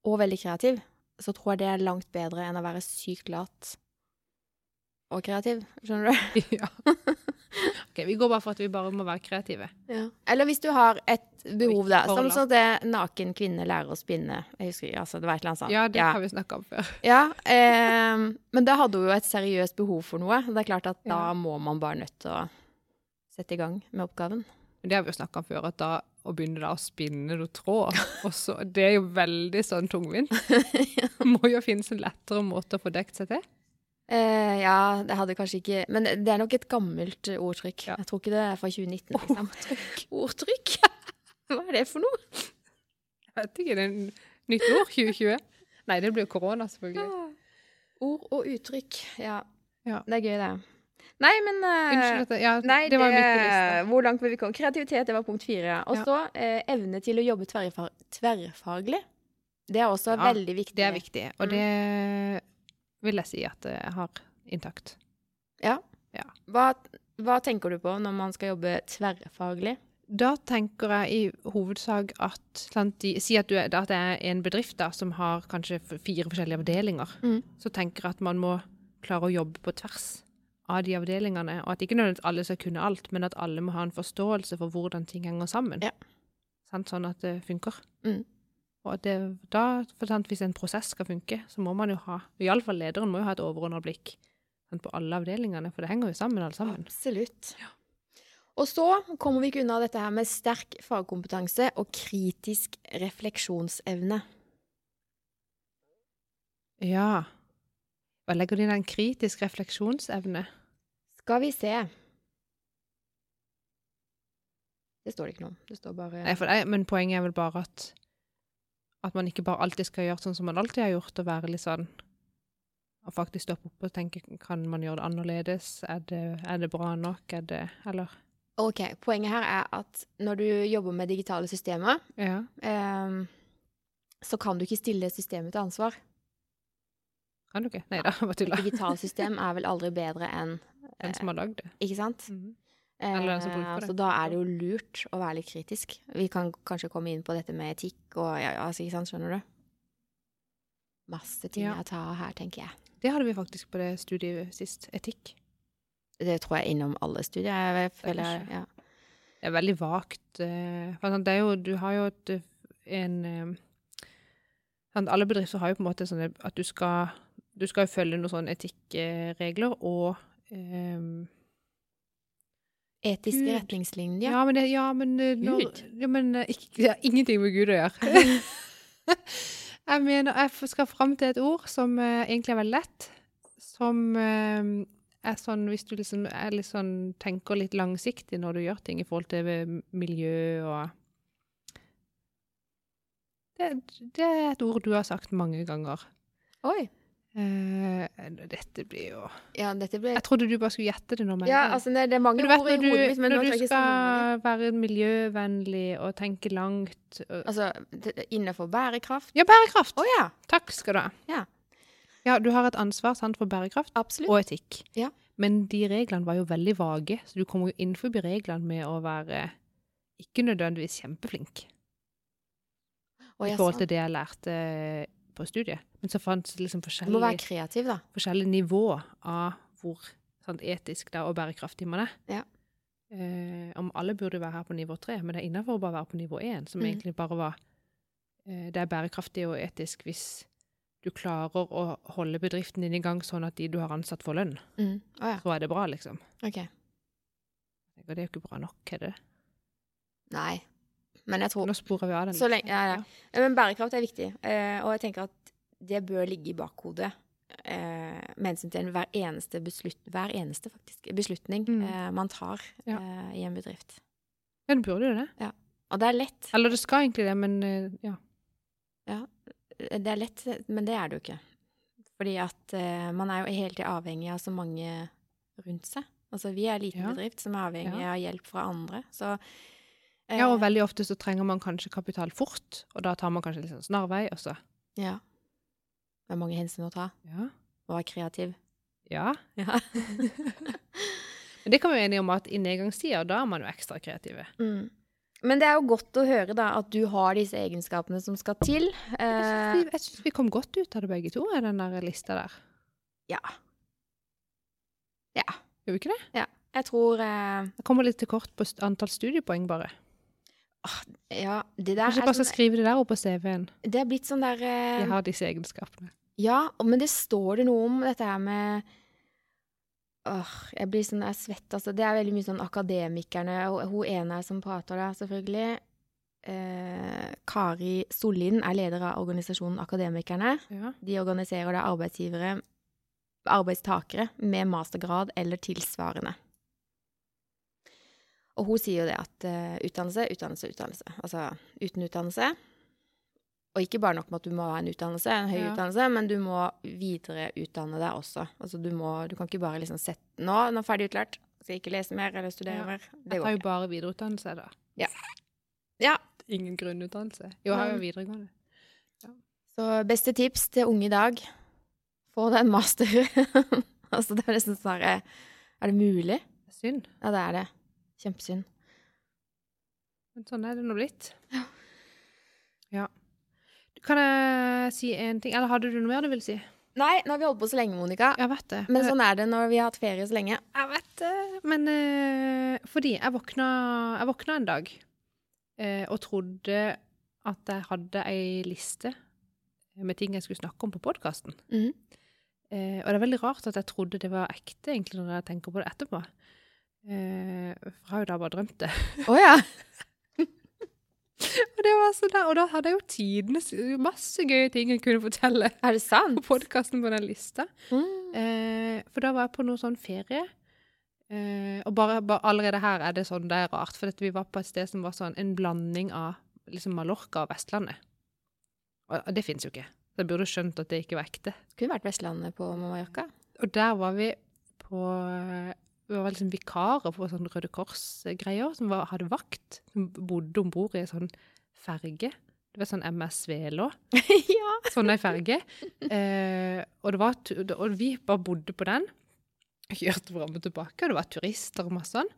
Speaker 1: og veldig kreativ, så tror jeg det er langt bedre enn å være sykt lat og kreativ. Skjønner du?
Speaker 2: ja. Ok, Vi går bare for at vi bare må være kreative.
Speaker 1: Eller hvis du har et behov, da.
Speaker 2: Og ikke for
Speaker 1: Som
Speaker 2: lat.
Speaker 1: sånn at det naken kvinne lærer å spinne. Jeg husker ikke, altså, det var et eller annet sånt.
Speaker 2: Ja, det
Speaker 1: ja.
Speaker 2: har vi snakka om før.
Speaker 1: ja eh, men da hadde hun jo et seriøst behov for noe. Det er klart at da
Speaker 2: Ja.
Speaker 1: må man bare nødt til å sette i gang med oppgaven.
Speaker 2: Men det har vi jo snakka om før, at da å begynne da å spinne noe tråd og så, Det er jo veldig sånn tungvint. Må jo finnes en lettere måte å få dekt seg til.
Speaker 1: Eh, ja, det hadde kanskje ikke Men det er nok et gammelt eh, ordtrykk. Jeg tror ikke det er fra 2019. Liksom. Ordtrykk? Hva er det for noe?
Speaker 2: Jeg vet ikke, det er en- nytt år 2020. Nei, det blir jo korona, selvfølgelig.
Speaker 1: Ord og uttrykk. Ja.
Speaker 2: Ja.
Speaker 1: Det er gøy, det. Nei, men eh,
Speaker 2: Unnskyld at jeg ja,
Speaker 1: Nei,
Speaker 2: det var midt i lista.
Speaker 1: Hvor langt vil vi komme? Kreativitet, det var punkt fire. ja. Og
Speaker 2: Ja.
Speaker 1: så eh, evne til å jobbe tverrfa- tverrfaglig. Det er også
Speaker 2: Ja,
Speaker 1: veldig viktig.
Speaker 2: Det er viktig,
Speaker 1: Mm.
Speaker 2: og det vil jeg si at jeg har intakt.
Speaker 1: Hva, hva tenker du på når man skal jobbe tverrfaglig?
Speaker 2: Da tenker jeg i hovedsak at sant, de, Si at, du er, at det er en bedrift da, som har kanskje f- fire forskjellige avdelinger.
Speaker 1: Mm.
Speaker 2: Så tenker jeg at man må klare å jobbe på tvers av de avdelingene. Og at ikke nødvendigvis alle skal kunne alt, men at alle må ha en forståelse for hvordan ting henger sammen.
Speaker 1: Ja.
Speaker 2: Sant, sånn at det funker.
Speaker 1: Mm.
Speaker 2: Og at det, da, for sant, Hvis en prosess skal funke, så må man jo ha Iallfall lederen må jo ha et overordnet blikk sant, på alle avdelingene, for det henger jo sammen, alle sammen.
Speaker 1: Absolutt. Og så kommer vi ikke unna dette her med sterk fagkompetanse og kritisk refleksjonsevne.
Speaker 2: Ja. Hva legger du inn i en kritisk refleksjonsevne?
Speaker 1: Skal vi se Det står det ikke noe om. Det står bare
Speaker 2: Nei, for det, men poenget er vel bare at at man ikke bare alltid skal gjøre sånn som man alltid har gjort, og være litt sånn Og faktisk stoppe opp og tenke kan man gjøre det annerledes? Er det, er det bra nok? Er det Eller
Speaker 1: Ok, Poenget her er at når du jobber med digitale systemer,
Speaker 2: Ja.
Speaker 1: eh, så kan du ikke stille systemet til ansvar.
Speaker 2: Kan du ikke? Nei da, bare tulla.
Speaker 1: Et digitalt system er vel aldri bedre enn
Speaker 2: Den som har lagd det.
Speaker 1: Ikke sant?
Speaker 2: Mhm. Eller den som bruker
Speaker 1: Eh,
Speaker 2: det.
Speaker 1: så da er det jo lurt å være litt kritisk. Vi kan kanskje komme inn på dette med etikk og ja, ja, altså, ikke sant, skjønner du? Masse ting
Speaker 2: Ja.
Speaker 1: å ta av her, tenker jeg.
Speaker 2: Det hadde vi faktisk på det studiet sist. Etikk.
Speaker 1: Det tror jeg innom alle studier. Jeg føler,
Speaker 2: kanskje.
Speaker 1: ja.
Speaker 2: Det er veldig vagt. eh, for sånn, Det er jo, du har jo et, en eh, sånn, Alle bedrifter har jo på en måte sånn at du skal, du skal jo følge noen sånne etikkregler og eh,
Speaker 1: Etiske
Speaker 2: Gud. ja.
Speaker 1: retningslinjer.
Speaker 2: men det, ja, men, eh, når,
Speaker 1: Gud.
Speaker 2: ja, men eh, ikke, det har ingenting med Gud å gjøre. jeg mener, jeg f- skal fram til et ord som eh, egentlig er veldig lett, som eh, er sånn Hvis du liksom er litt sånn, tenker litt langsiktig når du gjør ting i forhold til eh, miljø og det, det er et ord du har sagt mange ganger.
Speaker 1: Oi.
Speaker 2: Eh, dette blir jo
Speaker 1: Ja, dette ble
Speaker 2: Jeg trodde du bare skulle gjette det nå. med en
Speaker 1: Ja,
Speaker 2: gang.
Speaker 1: altså, det, det er mange
Speaker 2: Men du
Speaker 1: ord
Speaker 2: vet
Speaker 1: i
Speaker 2: når du,
Speaker 1: hodet mitt, men nå
Speaker 2: når
Speaker 1: tror jeg
Speaker 2: du
Speaker 1: ikke så mange.
Speaker 2: skal være miljøvennlig og tenke langt og
Speaker 1: Altså, det- innenfor bærekraft.
Speaker 2: Ja, bærekraft!
Speaker 1: Å ja.
Speaker 2: Takk skal du ha.
Speaker 1: Ja.
Speaker 2: Ja, du har et ansvar sant, for bærekraft
Speaker 1: Absolutt.
Speaker 2: og etikk.
Speaker 1: Ja.
Speaker 2: Men de reglene var jo veldig vage, så du kommer jo innenfor reglene med å være ikke nødvendigvis kjempeflink
Speaker 1: Å,
Speaker 2: i
Speaker 1: ja,
Speaker 2: forhold
Speaker 1: sant.
Speaker 2: til det jeg lærte på studiet. Men så fantes det liksom
Speaker 1: Du må være
Speaker 2: forskjellige,
Speaker 1: kreativ, da.
Speaker 2: forskjellige nivå av hvor sant, etisk da, og bærekraftig man er.
Speaker 1: Ja.
Speaker 2: Eh, om alle burde være her på nivå tre, men det er innafor å bare være på nivå én, som
Speaker 1: Mm.
Speaker 2: egentlig bare var eh, Det er bærekraftig og etisk hvis du klarer å holde bedriften din i gang sånn at de du har ansatt, får lønn.
Speaker 1: Mm. Å ja.
Speaker 2: Så er det bra, liksom.
Speaker 1: OK.
Speaker 2: Og det er jo ikke bra nok, er det?
Speaker 1: Nei. Men jeg tror
Speaker 2: Nå sporer vi av den.
Speaker 1: Så lenge-
Speaker 2: liksom.
Speaker 1: ja, ja. Ja, Men bærekraft er viktig, eh, og jeg tenker at det bør ligge i bakhodet eh, med hensyn til hver eneste, beslut, hver eneste faktisk, beslutning
Speaker 2: Mm.
Speaker 1: eh, man tar
Speaker 2: Ja.
Speaker 1: eh, i en bedrift.
Speaker 2: Ja, det burde jo det.
Speaker 1: Og det er lett,
Speaker 2: Eller det skal egentlig det, men eh, ja.
Speaker 1: det er lett men det er det jo ikke. Fordi at eh, man er jo hele tiden avhengig av så mange rundt seg. Altså vi er en liten
Speaker 2: Ja.
Speaker 1: bedrift som er avhengig
Speaker 2: Ja.
Speaker 1: av hjelp fra andre, så eh,
Speaker 2: ja. Og veldig ofte så trenger man kanskje kapital fort, og da tar man kanskje litt sånn snarvei, og så
Speaker 1: ja. Det er mange hensyn å ta,
Speaker 2: Ja.
Speaker 1: og være kreativ.
Speaker 2: ja.
Speaker 1: Ja.
Speaker 2: Men det kan vi være enige om at i nedgangstider, da er man jo ekstra kreative.
Speaker 1: Mm. Men det er jo godt å høre da, at du har disse egenskapene som skal til.
Speaker 2: Jeg
Speaker 1: Eh,
Speaker 2: syns vi, jeg synes vi kom godt ut av det begge to, av den der lista der.
Speaker 1: ja. Ja.
Speaker 2: Gjør vi ikke det?
Speaker 1: Jeg tror eh,
Speaker 2: Jeg kommer litt til kort på st- antall studiepoeng, bare.
Speaker 1: Ja, det der
Speaker 2: Kanskje jeg
Speaker 1: er,
Speaker 2: bare skal
Speaker 1: sånn,
Speaker 2: skrive det der opp på CV-en.
Speaker 1: det er blitt sånn der eh,
Speaker 2: Jeg har disse egenskapene.
Speaker 1: Ja, men det står det noe om dette her med Åh, jeg blir sånn, jeg er svett, altså. Det er veldig mye sånn akademikerne, og hun ene som prater der, selvfølgelig. Eh, Kari Sollien er leder av organisasjonen Akademikerne.
Speaker 2: Ja.
Speaker 1: De organiserer da arbeidsgivere, arbeidstakere med mastergrad eller tilsvarende. Og hun sier jo det at eh, utdannelse, utdannelse, utdannelse. Altså uten utdannelse. Og ikke bare nok med at du må ha en utdannelse, en høy
Speaker 2: Ja.
Speaker 1: utdannelse, men du må videreutdanne deg også. Altså du må, du kan ikke bare liksom sette Nå, nå er jeg ferdig utlært. Skal ikke lese mer eller studere
Speaker 2: Ja.
Speaker 1: mer. Det
Speaker 2: Jeg
Speaker 1: går
Speaker 2: tar jo
Speaker 1: ikke.
Speaker 2: bare videreutdannelse, da.
Speaker 1: Ja. Ja.
Speaker 2: Ingen grunnutdannelse. Jo, jeg har jo
Speaker 1: Men-
Speaker 2: videregående.
Speaker 1: Så beste tips til unge i dag få deg en master. altså det er nesten sånn her, Er det mulig?
Speaker 2: Det er Synd.
Speaker 1: Ja, det er det. Kjempesynd.
Speaker 2: Men sånn er det nå blitt. Ja. Kan jeg si en ting? Eller hadde du noe mer du ville si?
Speaker 1: Nei, nå har vi holdt på så lenge, Monica.
Speaker 2: Jeg vet det.
Speaker 1: Men sånn er det når vi har hatt ferie så lenge.
Speaker 2: Jeg vet det. Men eh, fordi jeg våkna, jeg våkna en dag eh, og trodde at jeg hadde ei liste med ting jeg skulle snakke om på podkasten.
Speaker 1: Mhm.
Speaker 2: Eh, og det er veldig rart at jeg trodde det var ekte, egentlig, når jeg tenker på det etterpå. Eh, for jeg har jo da bare drømt det.
Speaker 1: Å ja.
Speaker 2: og, det var sånn der, og da hadde jeg jo tidenes masse gøye ting jeg kunne fortelle
Speaker 1: Er det
Speaker 2: på
Speaker 1: sant?
Speaker 2: podkasten på den lista.
Speaker 1: Mm.
Speaker 2: Eh, for da var jeg på noe sånn ferie. Eh, og bare, bare allerede her er det sånn det er rart. For at vi var på et sted som var sånn en blanding av liksom Mallorca og Vestlandet. Og, og det fins jo ikke. Så jeg burde skjønt at det ikke var ekte.
Speaker 1: Kunne vært Vestlandet på Mallorca.
Speaker 2: Og der var vi på Vi var liksom vikarer på sånn Røde Kors-greier, som var, hadde vakt. Som bodde om bord i en sånn ferge. Det var sånn MS Velå.
Speaker 1: ja.
Speaker 2: Sånn ei ferge. Eh, og, det var, tu- og vi bare bodde på den. Kjørte fram og tilbake, og det var turister og masse sånn.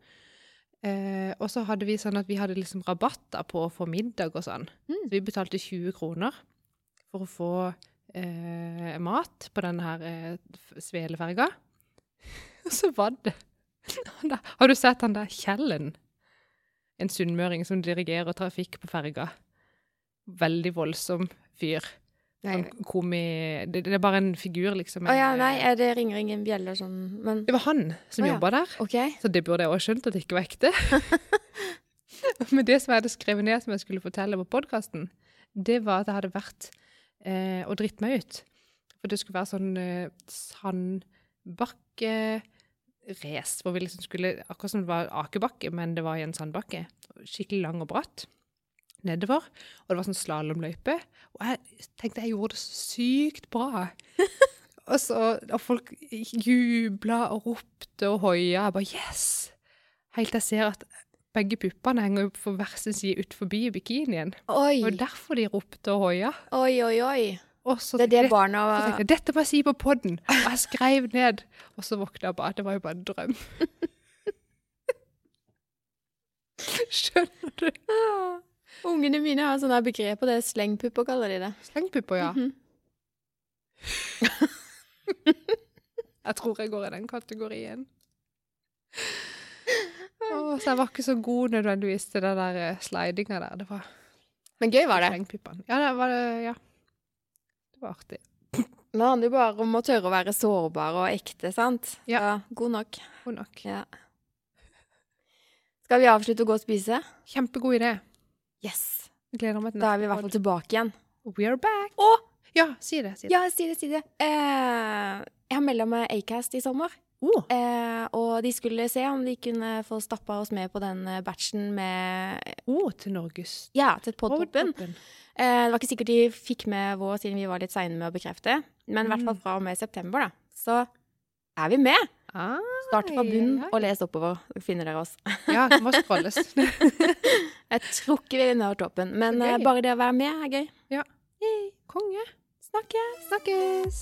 Speaker 2: Eh, og så hadde vi sånn at vi hadde liksom rabatter på å få middag og sånn.
Speaker 1: Mm.
Speaker 2: Så vi betalte 20 kroner for å få eh, mat på denne her eh, f- sveleferga. Og så var det han der- Har du sett han der Kjellen? En sunnmøring som dirigerer trafikk på ferga. Veldig voldsom fyr.
Speaker 1: Nei.
Speaker 2: Sånn komi... Det, det er bare en figur, liksom.
Speaker 1: Å ja, nei, er det ringer ingen bjeller sånn Men
Speaker 2: Det var han som
Speaker 1: Å ja.
Speaker 2: jobba der,
Speaker 1: OK.
Speaker 2: så det burde jeg også skjønt at det ikke var ekte. Men det som jeg hadde skrevet ned som jeg skulle fortelle på podkasten, det var at jeg hadde vært eh, og dritt meg ut. For det skulle være sånn eh, sand sandbakkerace, hvor vi liksom skulle Akkurat som det var akebakke, men det var i en sandbakke. Skikkelig lang og bratt nedover. Og det var sånn slalåmløype. Og jeg tenkte jeg gjorde det så sykt bra. og, så, og folk jubla og ropte og hoia. Jeg bare yes! Helt til jeg ser at begge puppene henger jo på hver sin side ut forbi bikinien.
Speaker 1: Oi,
Speaker 2: Det var derfor de ropte og hoia.
Speaker 1: oi, oi, oi.
Speaker 2: Og så
Speaker 1: Det er det
Speaker 2: tenkte jeg-
Speaker 1: barna
Speaker 2: så tenkte jeg, Dette må jeg si på podden! Og jeg skrev ned. Og så våkna jeg bare. Det var jo bare en drøm. Skjønner du?
Speaker 1: Ah, Ungene mine har sånne begrep på det. Slengpupper kaller de det.
Speaker 2: Slengpupper, ja.
Speaker 1: Mhm.
Speaker 2: Jeg tror jeg går i den kategorien. Åh, så jeg var ikke så god nødvendigvis til den der eh, slidinga der. Det var
Speaker 1: Men gøy var det.
Speaker 2: slengpippene. Ja, det var det. Ja. Det var artig.
Speaker 1: Det handler jo bare om å tørre å være sårbar og ekte, sant?
Speaker 2: Ja.
Speaker 1: God nok.
Speaker 2: God nok.
Speaker 1: Ja. Skal vi avslutte og gå og spise?
Speaker 2: Kjempegod idé.
Speaker 1: Yes!
Speaker 2: Gleder meg til
Speaker 1: Da er vi i hvert fall tilbake igjen.
Speaker 2: pod. We are back.
Speaker 1: Å!
Speaker 2: Ja, si det. Si det.
Speaker 1: Ja, si det, si det. Eh, jeg har melda meg Acast i sommer.
Speaker 2: Oh,
Speaker 1: Eh, og de skulle se om de kunne få stappa oss med på den eh, batchen med
Speaker 2: oh, til Norges
Speaker 1: Ja, til podpopen.
Speaker 2: Podpopen.
Speaker 1: Eh, det var ikke sikkert de fikk med vår siden vi var litt seine med å bekrefte. Men i hvert fall fra og med september, da. Så er vi med!
Speaker 2: Ah,
Speaker 1: Start fra bunnen
Speaker 2: ja,
Speaker 1: og les oppover. Så finner dere oss.
Speaker 2: ja, det må scrolles.
Speaker 1: Jeg tror ikke vi når toppen, men
Speaker 2: Så gøy.
Speaker 1: eh, bare det å være med er gøy.
Speaker 2: Konge.
Speaker 1: Snakkes!
Speaker 2: Snakkes.